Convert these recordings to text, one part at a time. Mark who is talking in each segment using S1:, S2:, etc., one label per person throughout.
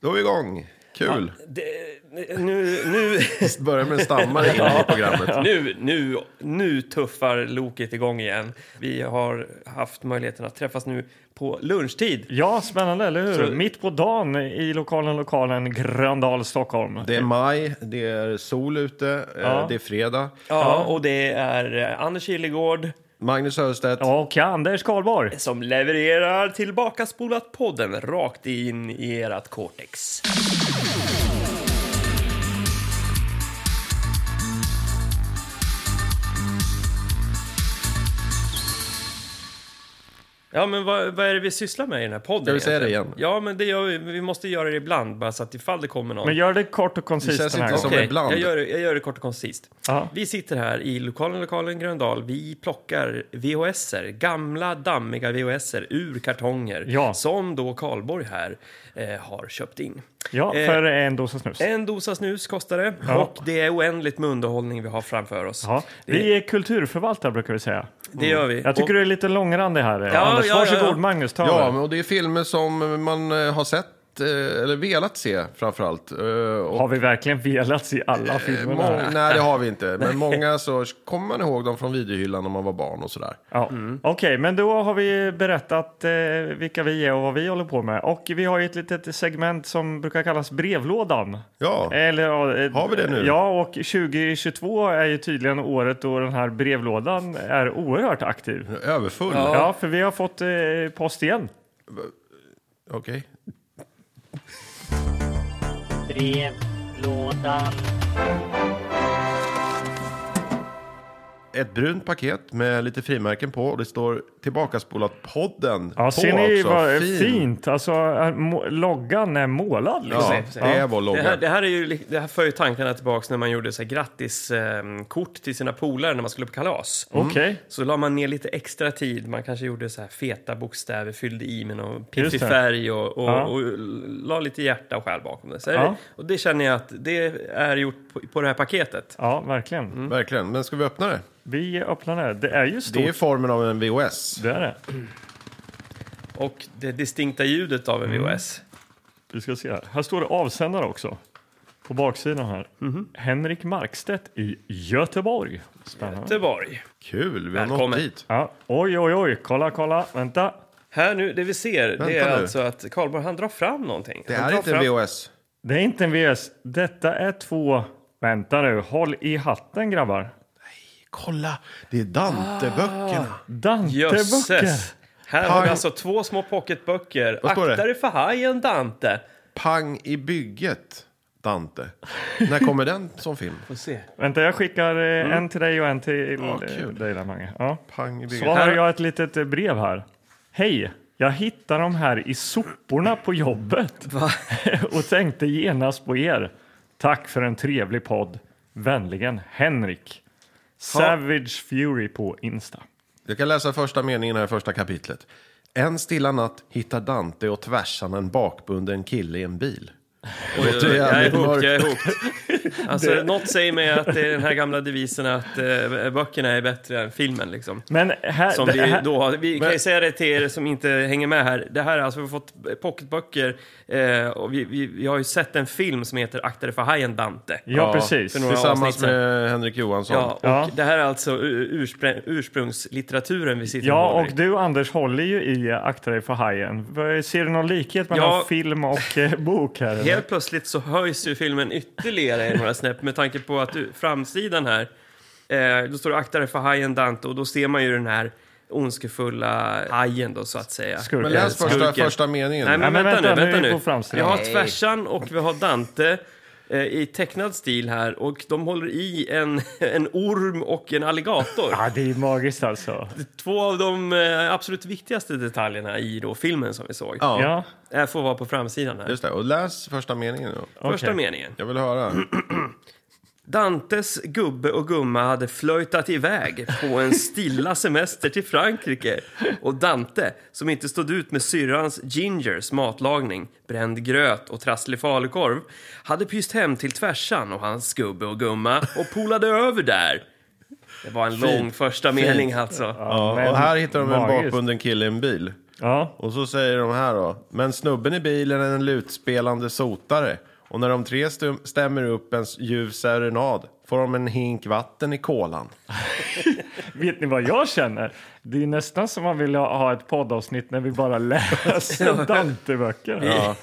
S1: Då är vi igång. Kul.
S2: Det, nu, nu,
S1: Börjar med en stammare in i programmet.
S2: nu, nu, nu tuffar loket igång igen. Vi har haft möjligheten att träffas nu på lunchtid.
S3: Ja, spännande, eller hur?
S2: Så-
S3: Mitt på dagen i lokalen, lokalen Gröndal, Stockholm.
S1: Det är maj, det är sol ute, eh,
S3: Ja.
S1: det är fredag.
S2: Ja, och det är eh, Anders Hillegård
S1: Magnus Hörstedt.
S3: Ja, och Anders Karlborg.
S2: som levererar tillbaka spolat podden rakt in i ert cortex. Ja, men vad, vad är det vi sysslar med i den här podden?
S1: Ska vi säga det
S2: egentligen?
S1: igen?
S2: Ja, men det gör vi. Vi måste göra det ibland, bara så att ifall det kommer någon.
S3: Men gör det kort och
S1: Det känns
S3: koncist den här
S1: inte som-
S3: gången.
S2: Okej,
S1: ibland.
S2: jag, gör, det- jag gör det kort och koncist.
S3: Ja.
S2: Vi sitter här i lokalen, lokalen Gröndal. Vi plockar VHSer, gamla dammiga VHSer ur kartonger
S3: Ja.
S2: som då Karlborg här eh, har köpt in.
S3: Ja,
S2: Eh,
S3: för en dosa snus.
S2: En dosa snus kostar det
S3: Ja.
S2: och det är oändligt med underhållning vi har framför oss.
S3: Ja. Vi är kulturförvaltare brukar vi säga.
S2: Det gör vi.
S3: Jag tycker
S2: och,
S3: du är lite långrandig här. eh,
S2: Ja,
S3: Anders.
S2: ja, ja,
S3: Varsågod
S2: ja.
S3: Magnus, ta
S1: Ja,
S3: över.
S1: men och det är filmer som man eh, har sett, eh, eller velat se framförallt. Eh, och
S3: Har vi verkligen velat se
S2: Eh,
S3: alla filmerna?
S1: Mång- nej, det har vi inte. Men många så kommer man ihåg dem från videohyllan när man var barn och sådär.
S3: Ja.
S2: Mm.
S3: Okej, men då har vi berättat eh, vilka vi är och vad vi håller på med. Och vi har ju ett litet segment som brukar kallas brevlådan.
S1: Ja,
S3: Eller, ja, eh,
S1: Har vi det nu?
S3: Ja, och 2022 är ju tydligen året då den här brevlådan är oerhört aktiv.
S1: överfull.
S2: Ja.
S3: Ja, för vi har fått eh, post igen.
S1: Okej.
S4: brevlådan.
S1: Ett brunt paket med lite frimärken på och det står tillbakaspolat podden
S3: Ja,
S1: på
S3: ser ni
S1: också.
S3: vad
S1: Fin.
S3: fint? Alltså, eh, må- loggan är målad liksom.
S1: Ja, det är vår
S2: det, här,
S1: logga.
S2: det här är ju, li- det här för ju tankarna tillbaka när man gjorde så här grattiskort till sina polare när man skulle på kalas.
S1: Mm.
S3: Okej.
S2: Så la man ner lite extra tid. Man kanske gjorde så här feta bokstäver, fyllde i med någon
S3: Just
S2: piffig
S3: det.
S2: färg och, och,
S3: Ja.
S2: och la lite hjärta och själ bakom det. Så är
S3: Ja.
S2: det. Och det känner jag att det är gjort på, på det här paketet.
S3: Ja, verkligen.
S1: Verkligen. Men ska vi öppna det?
S3: Vi öppnar det. här. Det är ju stort.
S1: Mm. Det är formen av en VOS.
S3: Det är det.
S2: Och det distinkta ljudet
S3: Mm.
S2: av en VHS.
S3: Vi ska se här. Här står det avsändare också. På baksidan här.
S1: Mhm.
S3: Henrik Markstedt i Göteborg. Spännande.
S2: Göteborg.
S1: Kul, vi har nått
S2: Välkommen.
S1: dit.
S3: Ja. Oj, oj, oj. Kolla, kolla. Vänta.
S2: Här nu, det vi ser, det är
S1: nu.
S2: alltså att Karlborg han drar fram någonting.
S1: Det
S2: han
S1: här är
S2: drar
S1: inte
S2: fram-
S1: en VOS.
S3: Det är inte en VS. Detta är två... Vänta nu. Håll i hatten, grabbar.
S1: Kolla, det är Dante-böckerna.
S3: Danteböcker.
S2: Jösses! Här
S1: Pang.
S2: har vi alltså två små pocketböcker.
S1: Vad står det?
S2: Akta dig för hajen Dante!
S1: Pang i bygget, Dante. När kommer den som film?
S2: Får se.
S3: Vänta, jag skickar eh,
S2: Mm.
S3: en till dig och en till
S1: Ja,
S3: eh,
S1: kul.
S3: dig där, Mange. Ja.
S1: Pang i
S3: Så
S1: bygget.
S3: har jag ett litet eh, brev här. Hej! Jag hittade dem här i soporna på jobbet och tänkte genast på er. Tack för en trevlig podd. Vänligen Henrik. Savage Fury på Insta.
S1: Jag kan läsa första meningen här i första kapitlet. En stilla natt hittar Dante och tvärsan en bakbunden kille i en bil.
S2: Oj,
S1: låter
S2: oj, oj, jag är
S1: jävligt
S2: hooked,
S1: mörkt.
S2: jag är hooked. Alltså, Något säger mig att det är den här gamla devisen att eh, böckerna är bättre än filmen. Liksom.
S3: Men här,
S2: Som
S3: det
S2: vi,
S3: här,
S2: då, har- vi kan ju
S1: Men-
S2: säga det till er som inte hänger med här. Det här är alltså, vi har fått pocketböcker eh, och vi, vi, vi har ju sett en film som heter Akta dig för hajen Dante.
S3: ja,
S1: Ja,
S3: precis.
S2: för några- avsnitt
S1: Tillsammans
S2: sen.
S1: med Henrik Johansson.
S2: Ja, och
S3: Ja.
S2: det här är alltså u- urspr- ursprungslitteraturen vi sitter
S3: Ja,
S2: och
S3: och du Anders håller ju i eh, Akta dig för hajen. Vad- Ser du någon likhet mellan
S2: Ja.
S3: film och eh, bok här? eller?
S2: Helt plötsligt så höjs ju filmen ytterligare några snäpp med tanke på att du, framsidan här, eh, då står det akta dig för hajen Dante och då ser man ju den här ondskefulla hajen då så att säga.
S3: Skurken.
S1: Men läs första,
S2: Skurken.
S1: första meningen.
S2: Nej men, vänta, nu, vänta
S3: är vi
S2: nu.
S3: på framsidan.
S2: Vi har tvärsan och vi har Dante eh, i tecknad stil här och de håller i en, en orm och en alligator.
S3: Ja, det är magiskt alltså.
S2: Två av de eh, absolut viktigaste detaljerna i då filmen som vi såg.
S1: Ja,
S3: Ja,
S2: Det här får vara på framsidan här.
S1: just det. Och läs första meningen då.
S2: Första
S3: okej.
S2: meningen.
S1: Jag vill höra.
S2: Dantes gubbe och gumma hade flöjtat iväg på en stilla semester till Frankrike. Och Dante, som inte stod ut med syrrans gingers matlagning, bränd gröt och trasslig falukorv, hade pyst hem till tvärsan och hans gubbe och gumma och polade över där. Det var en lång första mening alltså.
S1: Ja,
S3: men
S1: och här hittar de en
S3: magiskt.
S1: bakbunden kille i en bil.
S3: Ja,
S1: Och så säger de här då. Men snubben i bilen är en lutspelande sotare. Och när de tre stum- stämmer upp en ljus serenad får de en hink vatten i kolan.
S3: vet ni vad jag känner? Det är nästan som man vill ha ha ett poddavsnitt när vi bara läser Dante-böcker. Ja.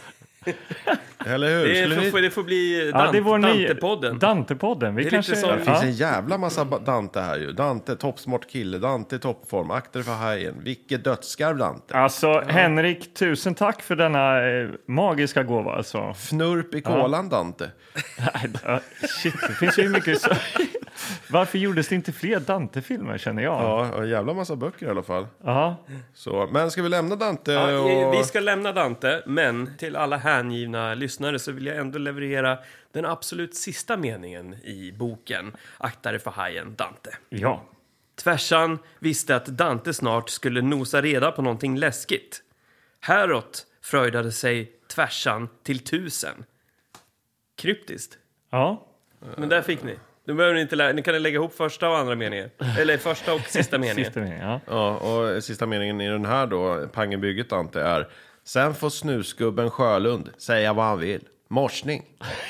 S1: Eller hur?
S2: Det,
S1: Skulle
S2: är,
S1: vi...
S2: får, det får bli
S3: Ja,
S2: Dan-
S3: det är vår ny-
S2: Dante-podden.
S3: Dantepodden. Vi
S2: Det är
S3: kanske...
S2: lite som-
S1: Det
S3: ja.
S1: finns en jävla massa ba- Dante här ju. Dante, toppsmart kille. Dante, toppform. Akter för hajen. Vilket dödsskarv Dante.
S3: Alltså, Henrik, tusen tack för denna eh, magiska gåva. Alltså.
S1: Fnurp i kolan Dante.
S3: Ja, Shit, det finns ju hur mycket... Så... Varför gjordes det inte fler Dante-filmer, känner jag? Ja.
S1: Ja, en jävla massa böcker i alla fall. Så, men ska vi lämna Dante?
S2: Ja,
S1: och...
S2: eh, Vi ska lämna Dante, men till alla hängivna lyssnare så vill jag ändå leverera den absolut sista meningen i boken Akta dig för hajen, Dante.
S3: ja.
S2: Tvärsan visste att Dante snart skulle nosa reda på någonting läskigt. Häråt fröjdade sig Tvärsan till tusen. Kryptiskt.
S3: Ja.
S2: Men där fick ni. Nu behöver ni inte lära, ni kan lägga ihop första och andra meningen. Eller första och sista meningen.
S3: Sista meningen, ja.
S1: Ja, och sista meningen i den här då, pangenbygget Ante, är Sen får snusgubben Sjölund säga vad han vill. Morsning.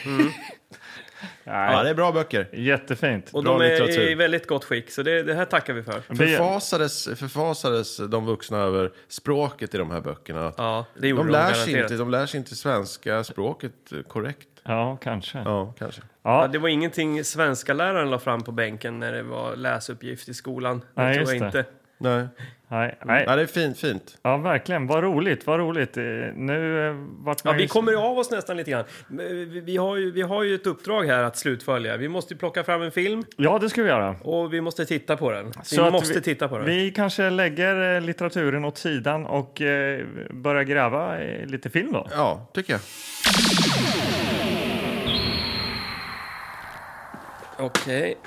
S1: Mm.
S3: Nej,
S1: Ja, det är bra böcker.
S3: Jättefint.
S2: Och
S1: Bra
S2: de är
S1: litteratur.
S2: i väldigt gott skick, så det, det här tackar vi för.
S3: Vi-
S1: Förfasades, förfasades de vuxna över språket i de här böckerna? Att
S2: Ja, det gjorde
S1: de, lär sig
S2: garanterat.
S1: inte, de lär sig inte svenska språket eh, korrekt.
S3: Ja, kanske. Ja.
S1: Ja, kanske.
S2: Ja, det var ingenting svenska läraren la fram på bänken när det var läsuppgift i skolan. Det
S3: Nej,
S2: tror jag
S3: just det.
S2: inte.
S1: Nej,
S3: Nej, nej.
S1: Nej det är fint, fint.
S3: Ja, verkligen. Vad roligt. Vad roligt. Eh, Nu eh, vart
S2: Ja,
S3: man
S2: vi
S3: ju-
S2: kommer av oss nästan lite grann. Men Vi vi har, ju, vi har ju ett uppdrag här att slutfölja. Vi måste ju plocka fram en film
S3: Ja, det ska vi göra.
S2: och vi måste titta på den. Vi
S3: att
S2: måste titta på den.
S3: Vi kanske lägger eh, litteraturen åt sidan och eh, börjar gräva eh, lite film då.
S1: Ja, tycker jag.
S2: Okej.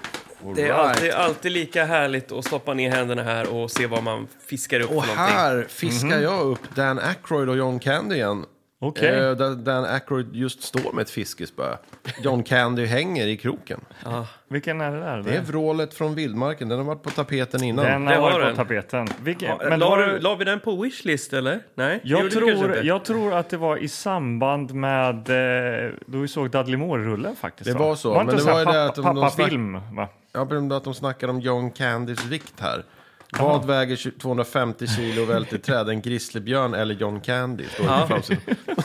S1: All
S2: Det är
S1: right.
S2: alltid, alltid lika härligt att stoppa ner händerna här och se vad man fiskar upp
S1: Och
S2: för någonting.
S1: här
S3: Mhm.
S1: fiskar jag upp Dan Aykroyd och John Candy igen.
S3: Okej.
S1: Eh, där Dan Aykroyd just står med ett fiskespö. John Candy hänger i kroken.
S3: Vilken är det där?
S1: Det är vrålet från vildmarken. Den har varit på tapeten innan.
S3: Den
S2: Det
S3: har
S2: var
S3: varit
S2: den.
S3: på tapeten. Vilken?
S2: Ja,
S3: men
S2: la,
S3: då-
S2: du, la vi den på wishlist eller? Nej, det
S3: jag,
S2: gjorde vi kanske
S3: tror,
S2: inte.
S3: jag tror att det var i samband med eh, då vi såg Dudley Moore-rullen faktiskt.
S1: Det
S3: va?
S1: var så,
S3: Var inte
S1: men det
S3: så här
S1: var ju det
S3: pappa,
S1: att de- de snack-
S3: pappafilm, va?
S1: Jag berömde att de snackar om John Candys vikt här. Vad väger 20- 250 kilo och välter träd? En grizzlybjörn eller John Candy? Står det på framsidan.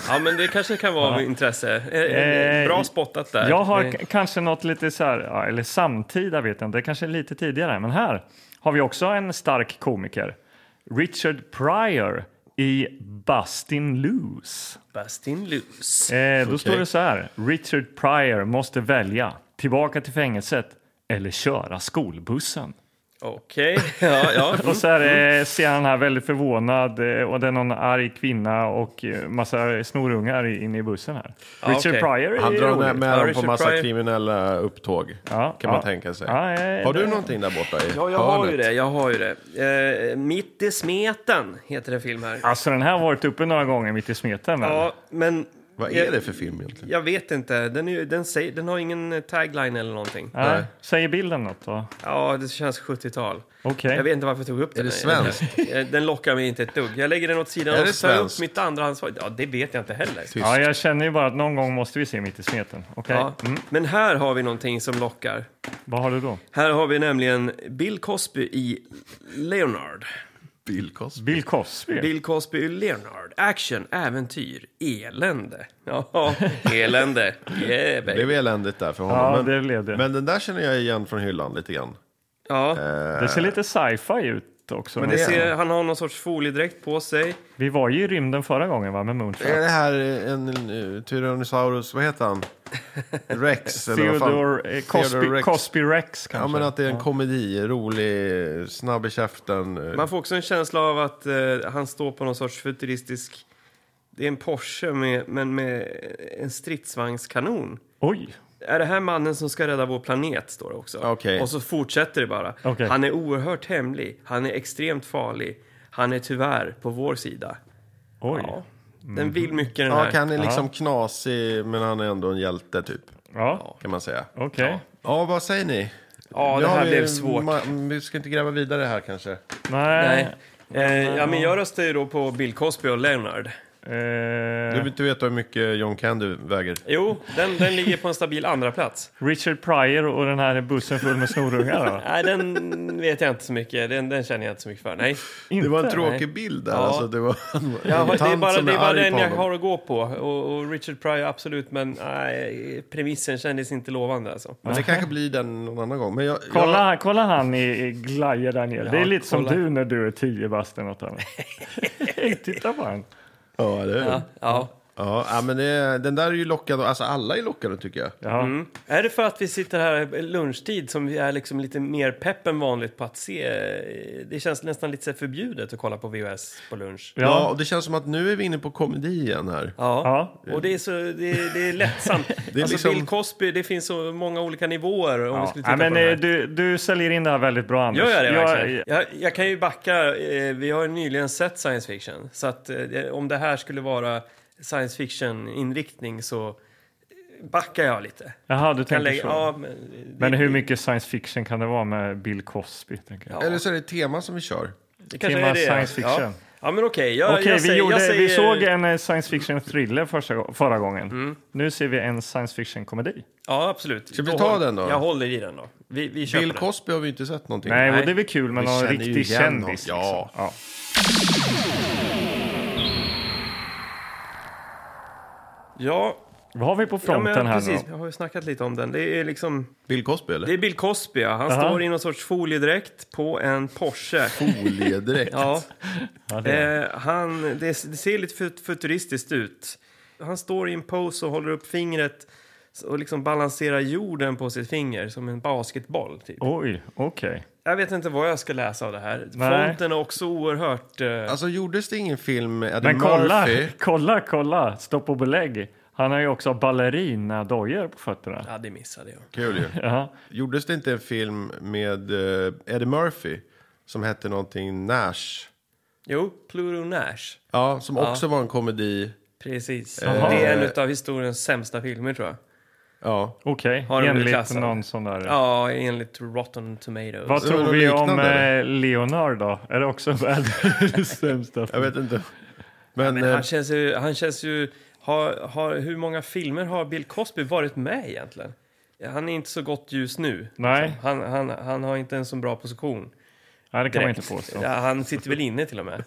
S2: Ja, men det kanske kan vara av intresse. Eh,
S3: Eh,
S2: Bra spottat där.
S3: Jag har
S2: Eh,
S3: k- kanske något lite så här, ja, eller samtida vet jag inte, kanske lite tidigare. Men här har vi också en stark komiker. Richard Pryor i Bustin Loose.
S2: Bastin Luz.
S3: Eh, då står det så här, Richard Pryor måste välja tillbaka till fängelset eller köra skolbussen.
S2: Okej, ja, ja.
S1: Mm.
S3: Och så här, eh, ser han här väldigt förvånad eh, och det är någon arg kvinna och eh, massa snorungar i- inne i bussen här. Richard
S2: okej.
S3: Pryor är
S1: Ah, Han drar
S3: rolig.
S1: med, med
S2: Ja,
S1: dem på
S2: Richard
S1: massa
S2: Pryor.
S1: kriminella upptåg.
S3: Ja,
S1: kan
S3: ja.
S1: man tänka sig.
S3: Ja, eh,
S1: har du
S3: det-
S1: någonting där borta i
S2: Ja, jag har ju
S1: hörnet?
S2: det. Jag har ju det. Eh, mitt i smeten heter det film här.
S3: Alltså den här har varit uppe några gånger mitt i smeten. väl?
S2: Ja, men...
S1: Vad
S2: Eh,
S1: är det för film egentligen?
S2: Jag vet inte. Den, är, ju- den, säger, den har ingen eh, tagline eller någonting.
S3: Nej.
S1: Nej.
S3: Säger bilden något då?
S2: Ja, det känns 70-tal.
S3: Okej.
S2: Jag vet inte varför jag tog upp den.
S1: det svenskt?
S2: Eh, Den lockar mig inte ett dugg. Jag lägger den åt sidan
S1: Är
S2: och
S1: det
S2: tar upp
S1: svenskt? Typ.
S2: mitt andrahandsval. Ja, det vet jag inte heller.
S1: Tyst.
S3: Ja, jag känner ju bara att någon gång måste vi se mitt i smeten. Okej,
S2: Ja.
S1: Mm.
S2: Men här har vi någonting som lockar.
S3: vad har du då?
S2: Här har vi nämligen Bill Cosby i Leonard.
S1: Bill Cosby.
S3: Bill Cosby?
S2: Bill Cosby i Leonard. Action, äventyr, elände. Ja, elände. Yeah,
S1: Det
S2: baby.
S1: blev eländigt där för honom.
S3: Ja,
S1: men,
S3: det blev det.
S1: men den där känner jag igen från hyllan lite grann. Eh,
S2: Ja,
S3: det ser lite sci-fi ut också.
S2: men det ser, han har någon sorts foliedräkt på sig.
S3: Vi var ju i rymden förra gången va, med Moonfall.
S1: Är det här en, en, eh, Tyrannosaurus, vad heter han? Rex? eller vad fan?
S3: Theodore eh, Cosby,
S1: Theodore Rex.
S3: Cosby Rex kanske?
S1: Ja men att det är en komedi, rolig, snabb i käften.
S2: Man får också en känsla av att eh, han står på någon sorts futuristisk... Det är en Porsche, med, men med en stridsvagnskanon.
S3: Oj!
S2: Är det här mannen som ska rädda vår planet? Står det också.
S1: Okej.
S2: Och så fortsätter det bara.
S3: Okej.
S2: Han är oerhört hemlig. Han är extremt farlig. Han är tyvärr på vår sida.
S3: Oj.
S2: Ja. Den vill mycket den
S1: Mhm. Ja,
S2: här.
S1: han är liksom knasig men han är ändå en hjälte typ,
S3: Ja,
S1: kan man säga.
S3: okej.
S1: Ja, vad säger ni?
S2: Ja,
S1: Nu
S2: det
S1: har
S2: här
S1: vi-
S2: blev svårt.
S1: ma- vi ska inte gräva vidare här kanske.
S3: Nej.
S2: Nej. Eh, ja, men jag röstar ju då på Bill Cosby och Leonard.
S1: Du vill
S3: Eh,
S1: inte veta hur mycket John Candy väger.
S2: Jo, den, den ligger på en stabil andra plats.
S3: Richard Pryor och den här bussen full med snorungar då?
S2: Nej, den vet jag inte så mycket. Den, den känner jag inte så mycket för. Nej.
S1: Det var en
S3: Inte?
S1: tråkig bild där.
S2: Ja.
S1: Alltså, det var en
S2: Jag har,
S1: tant
S2: det är bara,
S1: som
S2: det är bara
S1: arg
S2: den
S1: på
S2: jag
S1: honom.
S2: har att gå på. Och, och Richard Pryor, absolut. Men nej, premissen kändes inte lovande. Alltså.
S1: Men det kanske blir den någon annan gång. Men jag, jag,
S3: Kolla, kolla han i, i glajjor där nere. det är lite
S2: kolla.
S3: som du när du är tio bast eller något annat. Hej, titta på han.
S1: ja, det är
S2: Ja,
S1: det.
S2: ja.
S1: Ja, ja, men det, den där är ju lockande. Alltså alla är lockande tycker jag.
S3: Ja.
S2: Mm. Är det för att vi sitter här lunchtid som vi är liksom lite mer pepp än vanligt på att se? eh, Det känns nästan lite så här förbjudet att kolla på VHS på lunch.
S1: Ja. och det känns som att nu är vi inne på komedi igen här.
S2: Ja.
S3: Ja.
S2: och det är, så, det är, det är lättsamt.
S1: är
S2: alltså
S1: liksom-
S2: Bill Cosby, det finns så många olika nivåer om vi
S3: Ja.
S2: skulle titta
S3: Ja, men,
S2: på den här.
S3: eh, du, du säljer in det här väldigt bra, Anders.
S2: Gör jag det verkligen?
S3: jag,
S2: Jag, jag kan ju backa. eh, Vi har ju nyligen sett science fiction. Så att eh, om det här skulle vara science fiction-inriktning så backar jag lite.
S3: Jaha, du
S2: Kan
S3: tänker
S2: lägga,
S3: så.
S2: ja, men, det-
S3: Men hur mycket science fiction kan det vara med Bill Cosby? Tänker jag.
S2: Ja.
S1: Eller så är det ett tema som vi kör.
S2: det kanske
S3: tema
S2: är det.
S3: science fiction.
S2: Ja, ja men okej. Jag,
S3: Okej,
S2: jag
S3: vi,
S2: säger-
S3: gjorde,
S2: jag säger, Mm.
S3: vi såg en eh, science fiction thriller första, förra gången. Nu ser vi en science fiction komedi.
S2: Ja, absolut.
S1: Ska vi
S2: Då
S1: ta
S2: håll-
S1: den då?
S2: Jag håller i den då. Vi, vi köper
S1: Bill
S2: den.
S1: Cosby har vi inte sett någonting.
S3: Nej,
S2: Nej.
S3: och det är väl kul med
S1: Vi
S3: någon
S1: känner ju
S3: riktig
S1: igen honom.
S3: kändis.
S1: Ja.
S3: Liksom. Ja.
S2: Ja,
S3: Vad har vi på
S2: ja
S3: fronten
S2: men,
S3: här nu
S2: precis.
S3: då?
S2: Jag har ju snackat lite om den. Det är liksom...
S1: Bill Cosby
S2: Det
S1: eller?
S2: är Bill Cosby, ja. Han
S3: Aha.
S2: står i någon sorts foliedräkt på en Porsche.
S1: Foliedräkt.
S2: Ja.
S3: Ja, det är-
S2: Eh, han, det, det ser lite fut- futuristiskt ut. Han står i en pose och håller upp fingret och liksom balanserar jorden på sitt finger som en basketboll. Typ.
S3: Oj, okej.
S2: Jag vet inte vad jag ska läsa av det här.
S3: Nej.
S2: Fonten är också oerhört... Eh,
S1: Alltså gjordes det ingen film med Eddie
S3: Men kolla,
S1: Murphy?
S3: kolla, kolla. Stopp och belägg. Han har ju också ballerina-dojor på fötterna.
S2: ja, det missade jag.
S1: Kul ju.
S3: Ja.
S1: Gjordes det inte en film med eh, Eddie Murphy som hette någonting Nash?
S2: Jo, Pluto Nash.
S1: Ja, som också var en komedi.
S2: Precis.
S3: Jaha.
S2: Det är en av historiens sämsta filmer, tror jag.
S1: Ja.
S3: Okej,
S2: Har de blivit
S3: enligt
S2: klassade?
S3: någon sån där...
S2: Ja, enligt Rotten Tomatoes.
S1: Det
S3: Vad
S1: var
S3: tror
S1: något
S3: vi om
S1: liknande, eller?
S3: eh, Leonard då? Är det också världens sämsta?
S1: Jag vet inte. Men,
S2: Men han
S1: eh,
S2: känns ju... Han känns ju har, har, hur många filmer har Bill Cosby varit med i egentligen? Han är inte så gott ljus nu.
S3: Nej,
S2: Han, han, han har inte en så bra position.
S3: nej, det kan man
S2: direkt.
S3: inte påstå.
S2: Ja, han sitter väl inne till och med.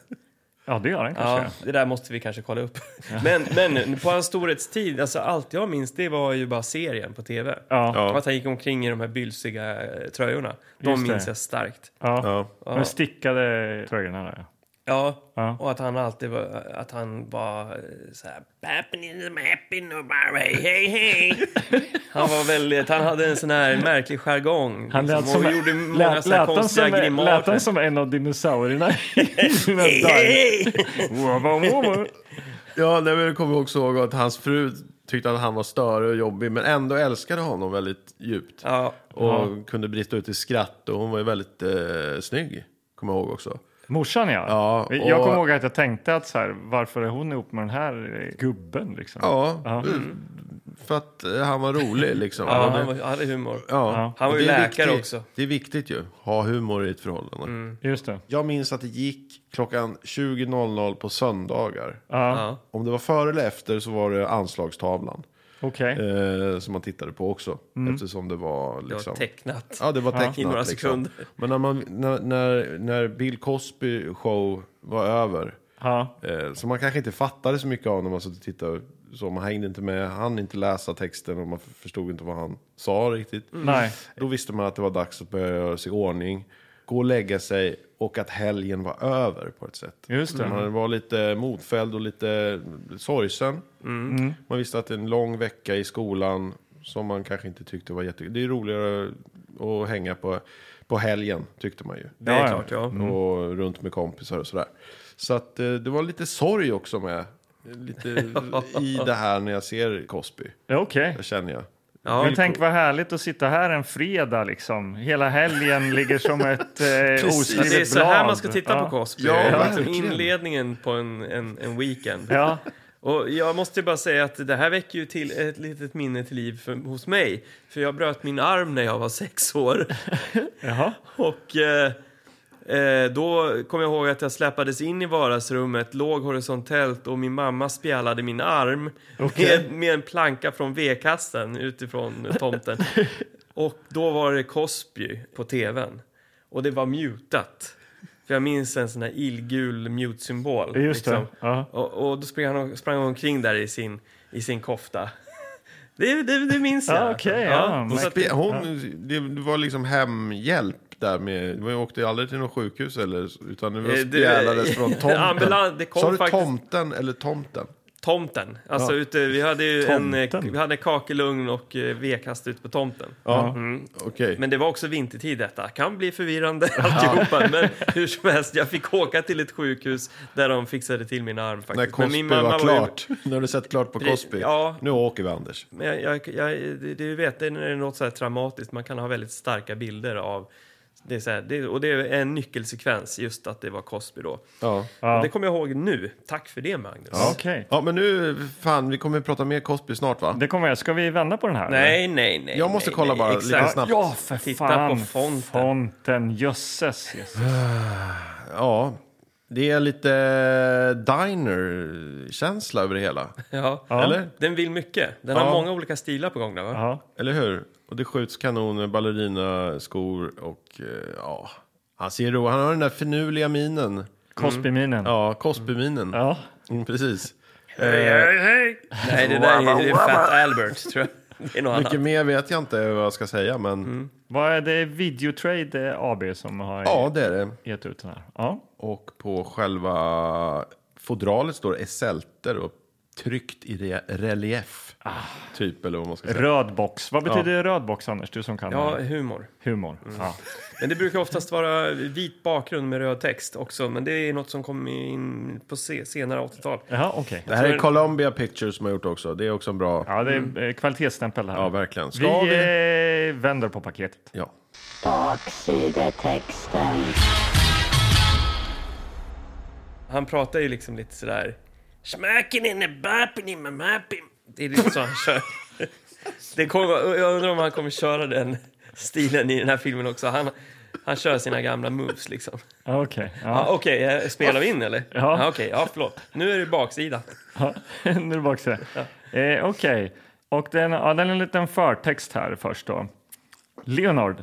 S3: Ja, det gör han
S2: Ja,
S3: kanske.
S2: det där måste vi kanske kolla upp. Men, men på hans storhetstid, alltså allt jag minns det var ju bara serien på tv.
S3: Ja. Ja.
S2: Och
S1: ja,
S2: Att han gick omkring i de här bylsiga eh, tröjorna. De
S3: Just det.
S2: minns jag starkt.
S1: ja.
S3: De stickade tröjorna där.
S2: Ja,
S3: Ja.
S2: och att han alltid var, att han var eh, så här... "Happening is happy nobody, hey hey. Han var väldigt, han hade en sån här märklig jargong.
S3: Han lät
S2: liksom,
S3: som,
S2: och gjorde många
S3: lät,
S2: så här
S3: lät, han
S2: konstiga
S3: som, lät
S2: grimaser.
S3: han som en av dinosaurierna i sina
S2: Hey, hey,
S3: dagar?
S2: hey.
S3: Wow, wow, wow.
S1: ja nej, men jag kommer också ihåg att hans fru tyckte att han var störig och jobbig men ändå älskade honom väldigt djupt.
S2: Ja,
S1: Och kunde brista ut i skratt och hon var ju väldigt eh, snygg. Kommer jag ihåg också.
S3: Morsan ja.
S1: Ja, och-
S3: Jag kommer ihåg att jag tänkte att så här, varför är hon ihop med den här eh, gubben liksom?
S1: Ja, för att eh, han var rolig liksom.
S2: ja
S1: Och det-
S2: han var, hade humor.
S1: Ja.
S2: Han var
S1: Och
S2: ju
S1: det är
S2: läkare
S1: viktigt.
S2: också. Mm.
S1: Det är viktigt ju. Ha humor i ett förhållande.
S3: Just det.
S1: Jag minns att det gick klockan 20.00 på söndagar.
S3: Ja,
S2: Ja.
S1: Om det var före eller efter så var det anslagstavlan.
S3: okej.
S1: Eh, som man tittade på också. Eftersom det var
S2: Mm. Det
S1: liksom...
S2: var tecknat.
S1: Ja, det var tecknat.
S2: I några
S1: liksom.
S2: sekunder.
S1: Men när, man, när, när, när Bill Cosby show var över.
S3: Ja.
S1: Eh, som man kanske inte fattade så mycket av när man satt och tittade. Så man hängde inte med, han inte läsa texten och man f- förstod inte vad han sa riktigt.
S2: Mm.
S3: Nej.
S1: Då visste man att det var dags att börja göra sig i ordning, gå och lägga sig och att helgen var över på ett sätt.
S3: Just det.
S1: Man var lite modfälld och lite sorgsen. Man visste att det är en lång vecka i skolan som man kanske inte tyckte var jätte... Det är roligare att hänga på, på helgen, tyckte man ju. Mm.
S2: Det är
S3: Ja, ja.
S2: klart, ja.
S1: Och runt med kompisar och sådär. Så att eh, det var lite sorg också med. Lite i det här när jag ser Cosby,
S3: Ja, Okej.
S1: det känner jag.
S2: Ja.
S3: Men tänk vad härligt att sitta här en fredag liksom. Hela helgen ligger som ett eh,
S2: Ja,
S3: oskrivet
S2: Det är så här
S3: blad.
S2: man ska titta
S3: ja.
S2: på Cosby.
S1: Ja,
S2: Ja, liksom
S1: verkligen.
S2: inledningen på en, en, en weekend.
S3: Ja,
S2: Och jag måste ju bara säga att det här väcker ju till ett litet minne till liv för, hos mig. För jag bröt min arm när jag var sex år.
S3: jaha.
S2: Och eh, Eh, då kom jag ihåg att jag släpades in i vardagsrummet, låg horisontellt och min mamma spjälade min arm med, med en planka från vedkassen utifrån tomten. och då var det Cosby på tvn och det var mutat. För jag minns en sån här illgul liksom. mute-symbol.
S3: Just det, ja.
S2: och, och då sprang han, sprang han omkring där i sin, i sin kofta. Det, det, det minns jag.
S3: Ja, okej, ja.
S1: Hon,
S2: Så att-
S1: spe- hon, det det var liksom hemhjälp där med, hon åkte ju aldrig till något sjukhus eller, utan det var
S2: Eh, det-
S1: spjälades från tomten.
S2: Ambulan- det kom
S1: Sa du
S2: faktiskt-
S1: tomten eller tomten?
S2: Tomten. Alltså ute, vi hade ju en, eh,
S3: Tomten.
S2: vi hade kakelugn och eh, vedkast ute på tomten.
S1: Ja, Mm, okej.
S2: Men det var också vintertid detta. Kan bli förvirrande alltihopa. Men hur som helst, jag fick åka till ett sjukhus där de fixade till min arm faktiskt.
S1: När Cosby
S2: men min
S1: var
S2: ju-
S1: klart. När du sett klart på
S2: Pre-
S1: Cosby.
S2: ja.
S1: Nu åker vi Anders.
S2: Men jag, jag, jag, det- du vet, det är något så här traumatiskt. Man kan ha väldigt starka bilder av det, är så här, det och det är en nyckelsekvens, just att det var Cosby då.
S1: Ja.
S3: Ja.
S2: Och det kommer jag ihåg nu. Tack för det, Magnus.
S1: Ja.
S3: Okej.
S1: ja, men nu, fan, vi kommer att prata mer Cosby snart va?
S3: Det kommer jag. Ska vi vända på den här? eller?
S2: Nej, nej, nej.
S1: Jag måste
S2: nej,
S1: kolla
S2: nej,
S1: bara
S2: exakt.
S1: lite snabbt.
S3: Ja, för
S2: Titta
S3: fan.
S2: på fonten.
S3: Fonten, jösses.
S1: Mm.
S3: jösses.
S1: Ja, det är lite diner-känsla över det hela.
S2: Ja.
S1: Eller?
S2: Den vill mycket. Den
S1: Ja.
S2: har många olika stilar på gång där, va?
S3: Ja.
S1: Eller hur? Och det skjuts kanoner, ballerinaskor och eh, ja... Han ser ro, han har den där finurliga minen.
S3: Cosby-minen.
S1: Ja, Cosby-minen.
S3: Ja.
S1: Mm, precis. Eh,
S2: Nej, det där är, det är Fat Albert, tror jag. Det är något
S1: Mycket
S2: annat.
S1: mer vet jag inte vad jag ska säga, men
S3: Vad är det Videotrade eh, AB som har
S1: ja, det är det.
S3: gett ut den här? Ja.
S1: Och på själva fodralet står esselter och tryckt i re- relief.
S3: Ah.
S1: Typ, eller vad man ska säga.
S3: Röd box. Vad betyder röd box, Anders? Du som kan
S2: Ja,
S3: eh,
S2: humor.
S3: humor.
S1: Mm.
S3: Ja.
S2: Men det brukar oftast vara vit bakgrund med röd text också. Men det är något som kom in på se- senare 80-tal.
S3: Jaha, okej.
S1: Det här är Columbia Pictures som har gjort också. Det är också en bra...
S3: Ja, det är eh, kvalitetsstämpel här.
S1: Mm. Ja, verkligen.
S3: vi
S1: Ska vi...
S3: eh, vänder på paketet.
S1: Ja.
S4: Baksidetexten.
S2: Han pratar ju liksom lite sådär... Smacken in the bappin in my mappin. Det är lite så han kör. Det kommer, jag undrar om han kommer köra den stilen i den här filmen också. Han, han kör sina gamla moves liksom.
S3: Ja, okej.
S2: Ja,
S3: Ja.
S2: Okej, eh, spelar vi in eller?
S3: Ja.
S2: Okej, ja förlåt. Nu är det baksida.
S3: Ja. nu är det bak sig. Eh, okej. Och den, ja, den är en liten förtext här först då. Leonard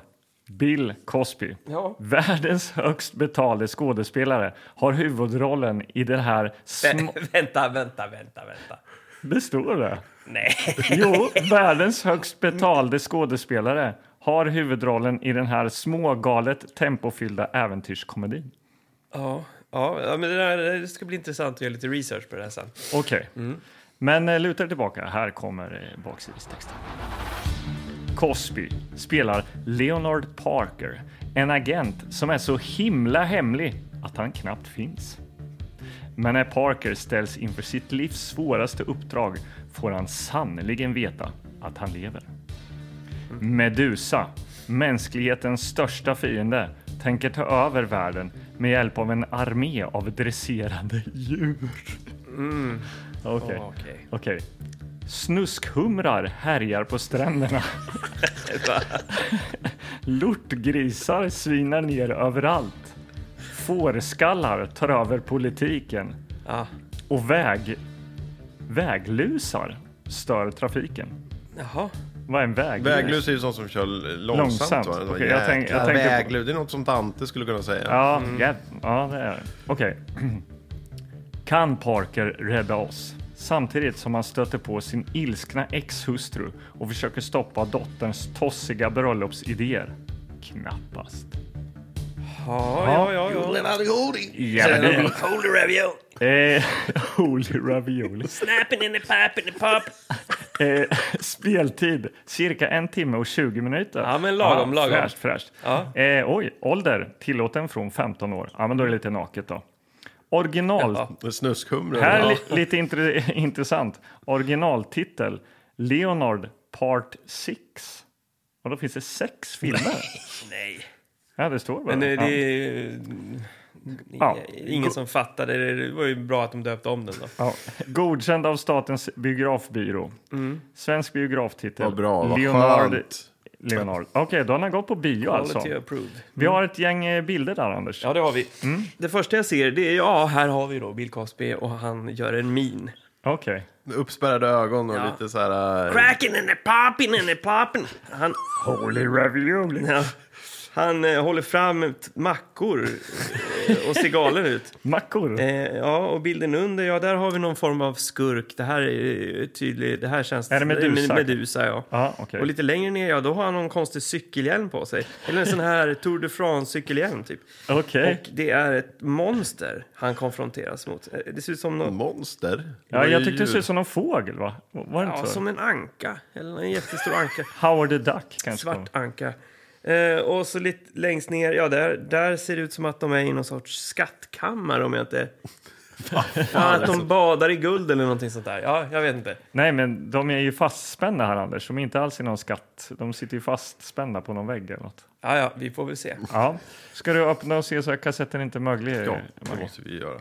S3: Bill Cosby.
S2: Ja.
S3: Världens högst betalde skådespelare har huvudrollen i den här... Sm-
S2: vänta, vänta, vänta, vänta.
S3: det står det.
S2: Nej.
S3: Jo, världens högst betalde skådespelare har huvudrollen i den här smågalet tempofyllda äventyrskomedin.
S2: Ja, ja ja, men det, där, det ska bli intressant att göra lite research på det här sen.
S3: Okej. Men eh, luta er tillbaka. Här kommer eh, baksidestexten. Cosby spelar Leonard Parker, en agent som är så himla hemlig att han knappt finns. Men när Parker ställs inför sitt livs svåraste uppdrag får han sannoliken veta att han lever. Medusa, mänsklighetens största fiende, tänker ta över världen med hjälp av en armé av dresserande djur. Okej.
S2: Okej.
S3: Okej. Snuskhumrar härjar på stränderna. Lortgrisar svinar ner överallt. Fårskallar tar över politiken.
S2: Ja.
S3: Och väg... väglusar stör trafiken.
S2: Jaha.
S3: Vad är en väglus?
S1: Väglus är ju sånt som kör långsamt.
S3: Långsamt,
S1: va? Så
S3: okej, jag tänk- jag
S1: jäkla
S3: tänkte på-
S1: väglus, det är något som Dante skulle kunna säga.
S3: Ja,
S2: Mm.
S3: mm. ja, ja det är det. Okej. Kan Parker rädda oss? Samtidigt som han stöter på sin ilskna ex-hustru och försöker stoppa dotterns tossiga bröllopsidéer. Knappast.
S2: Ja, ja, ja. ja.
S3: Ja, men det-
S2: Holy ravioli.
S3: Eh, Holy ravioli.
S2: Snapping in the pap in the pop.
S3: Eh, speltid cirka en timme och 20 minuter.
S2: Ja, men lagom, lagom.
S3: Fräscht, fräscht.
S2: Ja.
S3: Eh, oj, ålder tillåten från 15 år. Ja, men då är det lite naket då. Original,
S2: Ja.
S1: Med Snuskhumrar.
S3: Här är li- lite intre- intressant. Originaltitel Leonard Part 6. Och då finns det sex filmer.
S2: Nej.
S3: ja, det står bara.
S2: Men det, det
S3: ja.
S2: är
S3: Ja.
S2: ingen som fattade det. Det var ju bra att de döpte om den då.
S3: Ja. Godkänd
S2: Mm.
S3: av Statens biografbyrå. Svensk biograftitel.
S1: Vad bra, vad
S3: Leonard
S1: skönt.
S3: Leonard. Okej, då har han gått på bio
S2: Quality
S3: alltså.
S2: approved.
S3: Vi har ett gäng eh, bilder där, Anders.
S2: Ja, det har vi. Det första jag ser det är, ja, här har vi då Bill Cosby och han gör en min.
S3: Okej.
S1: Uppspärrade ögon och
S2: Ja.
S1: lite så här... eh,
S2: Cracking and a popping and a popping. Han,
S3: Holy ravioli.
S2: ja, han eh, håller fram t- mackor eh, och ser galen ut.
S3: Mackor.
S2: Eh, ja, och bilden under, ja, där har vi någon form av skurk. Det här är eh, tydligt, det här känns...
S3: Är det Medusa?
S2: Medusa, ja.
S3: Ja, okej.
S2: Och lite längre ner, ja, då har han någon konstig cykelhjälm på sig. Eller en sån här Tour de France-cykelhjälm, typ.
S3: Okej.
S2: Och det är ett monster han konfronteras mot. Eh, Det ser ut som
S3: Mm,
S2: någon...
S1: Monster?
S3: Ja, jag tyckte det såg ut som någon fågel, va? Var det
S2: Ja,
S3: inte så?
S2: som en anka. Eller en jättestor anka.
S3: Howard the Duck kanske?
S2: Svart anka. Eh, och så lite längst ner, ja, där, där ser det ut som att de är i någon sorts skattkammare om jag inte... Ja, att de badar i guld eller någonting sånt där. Ja, jag vet inte.
S3: Nej, men de är ju fastspända här, Anders. De är inte alls i någon skatt. De sitter ju fastspända på någon vägg eller något.
S2: Ja, ja, vi får väl se.
S3: Ja. Ska du öppna och se så att kassetten inte är möglig?
S1: Ja, det måste vi göra.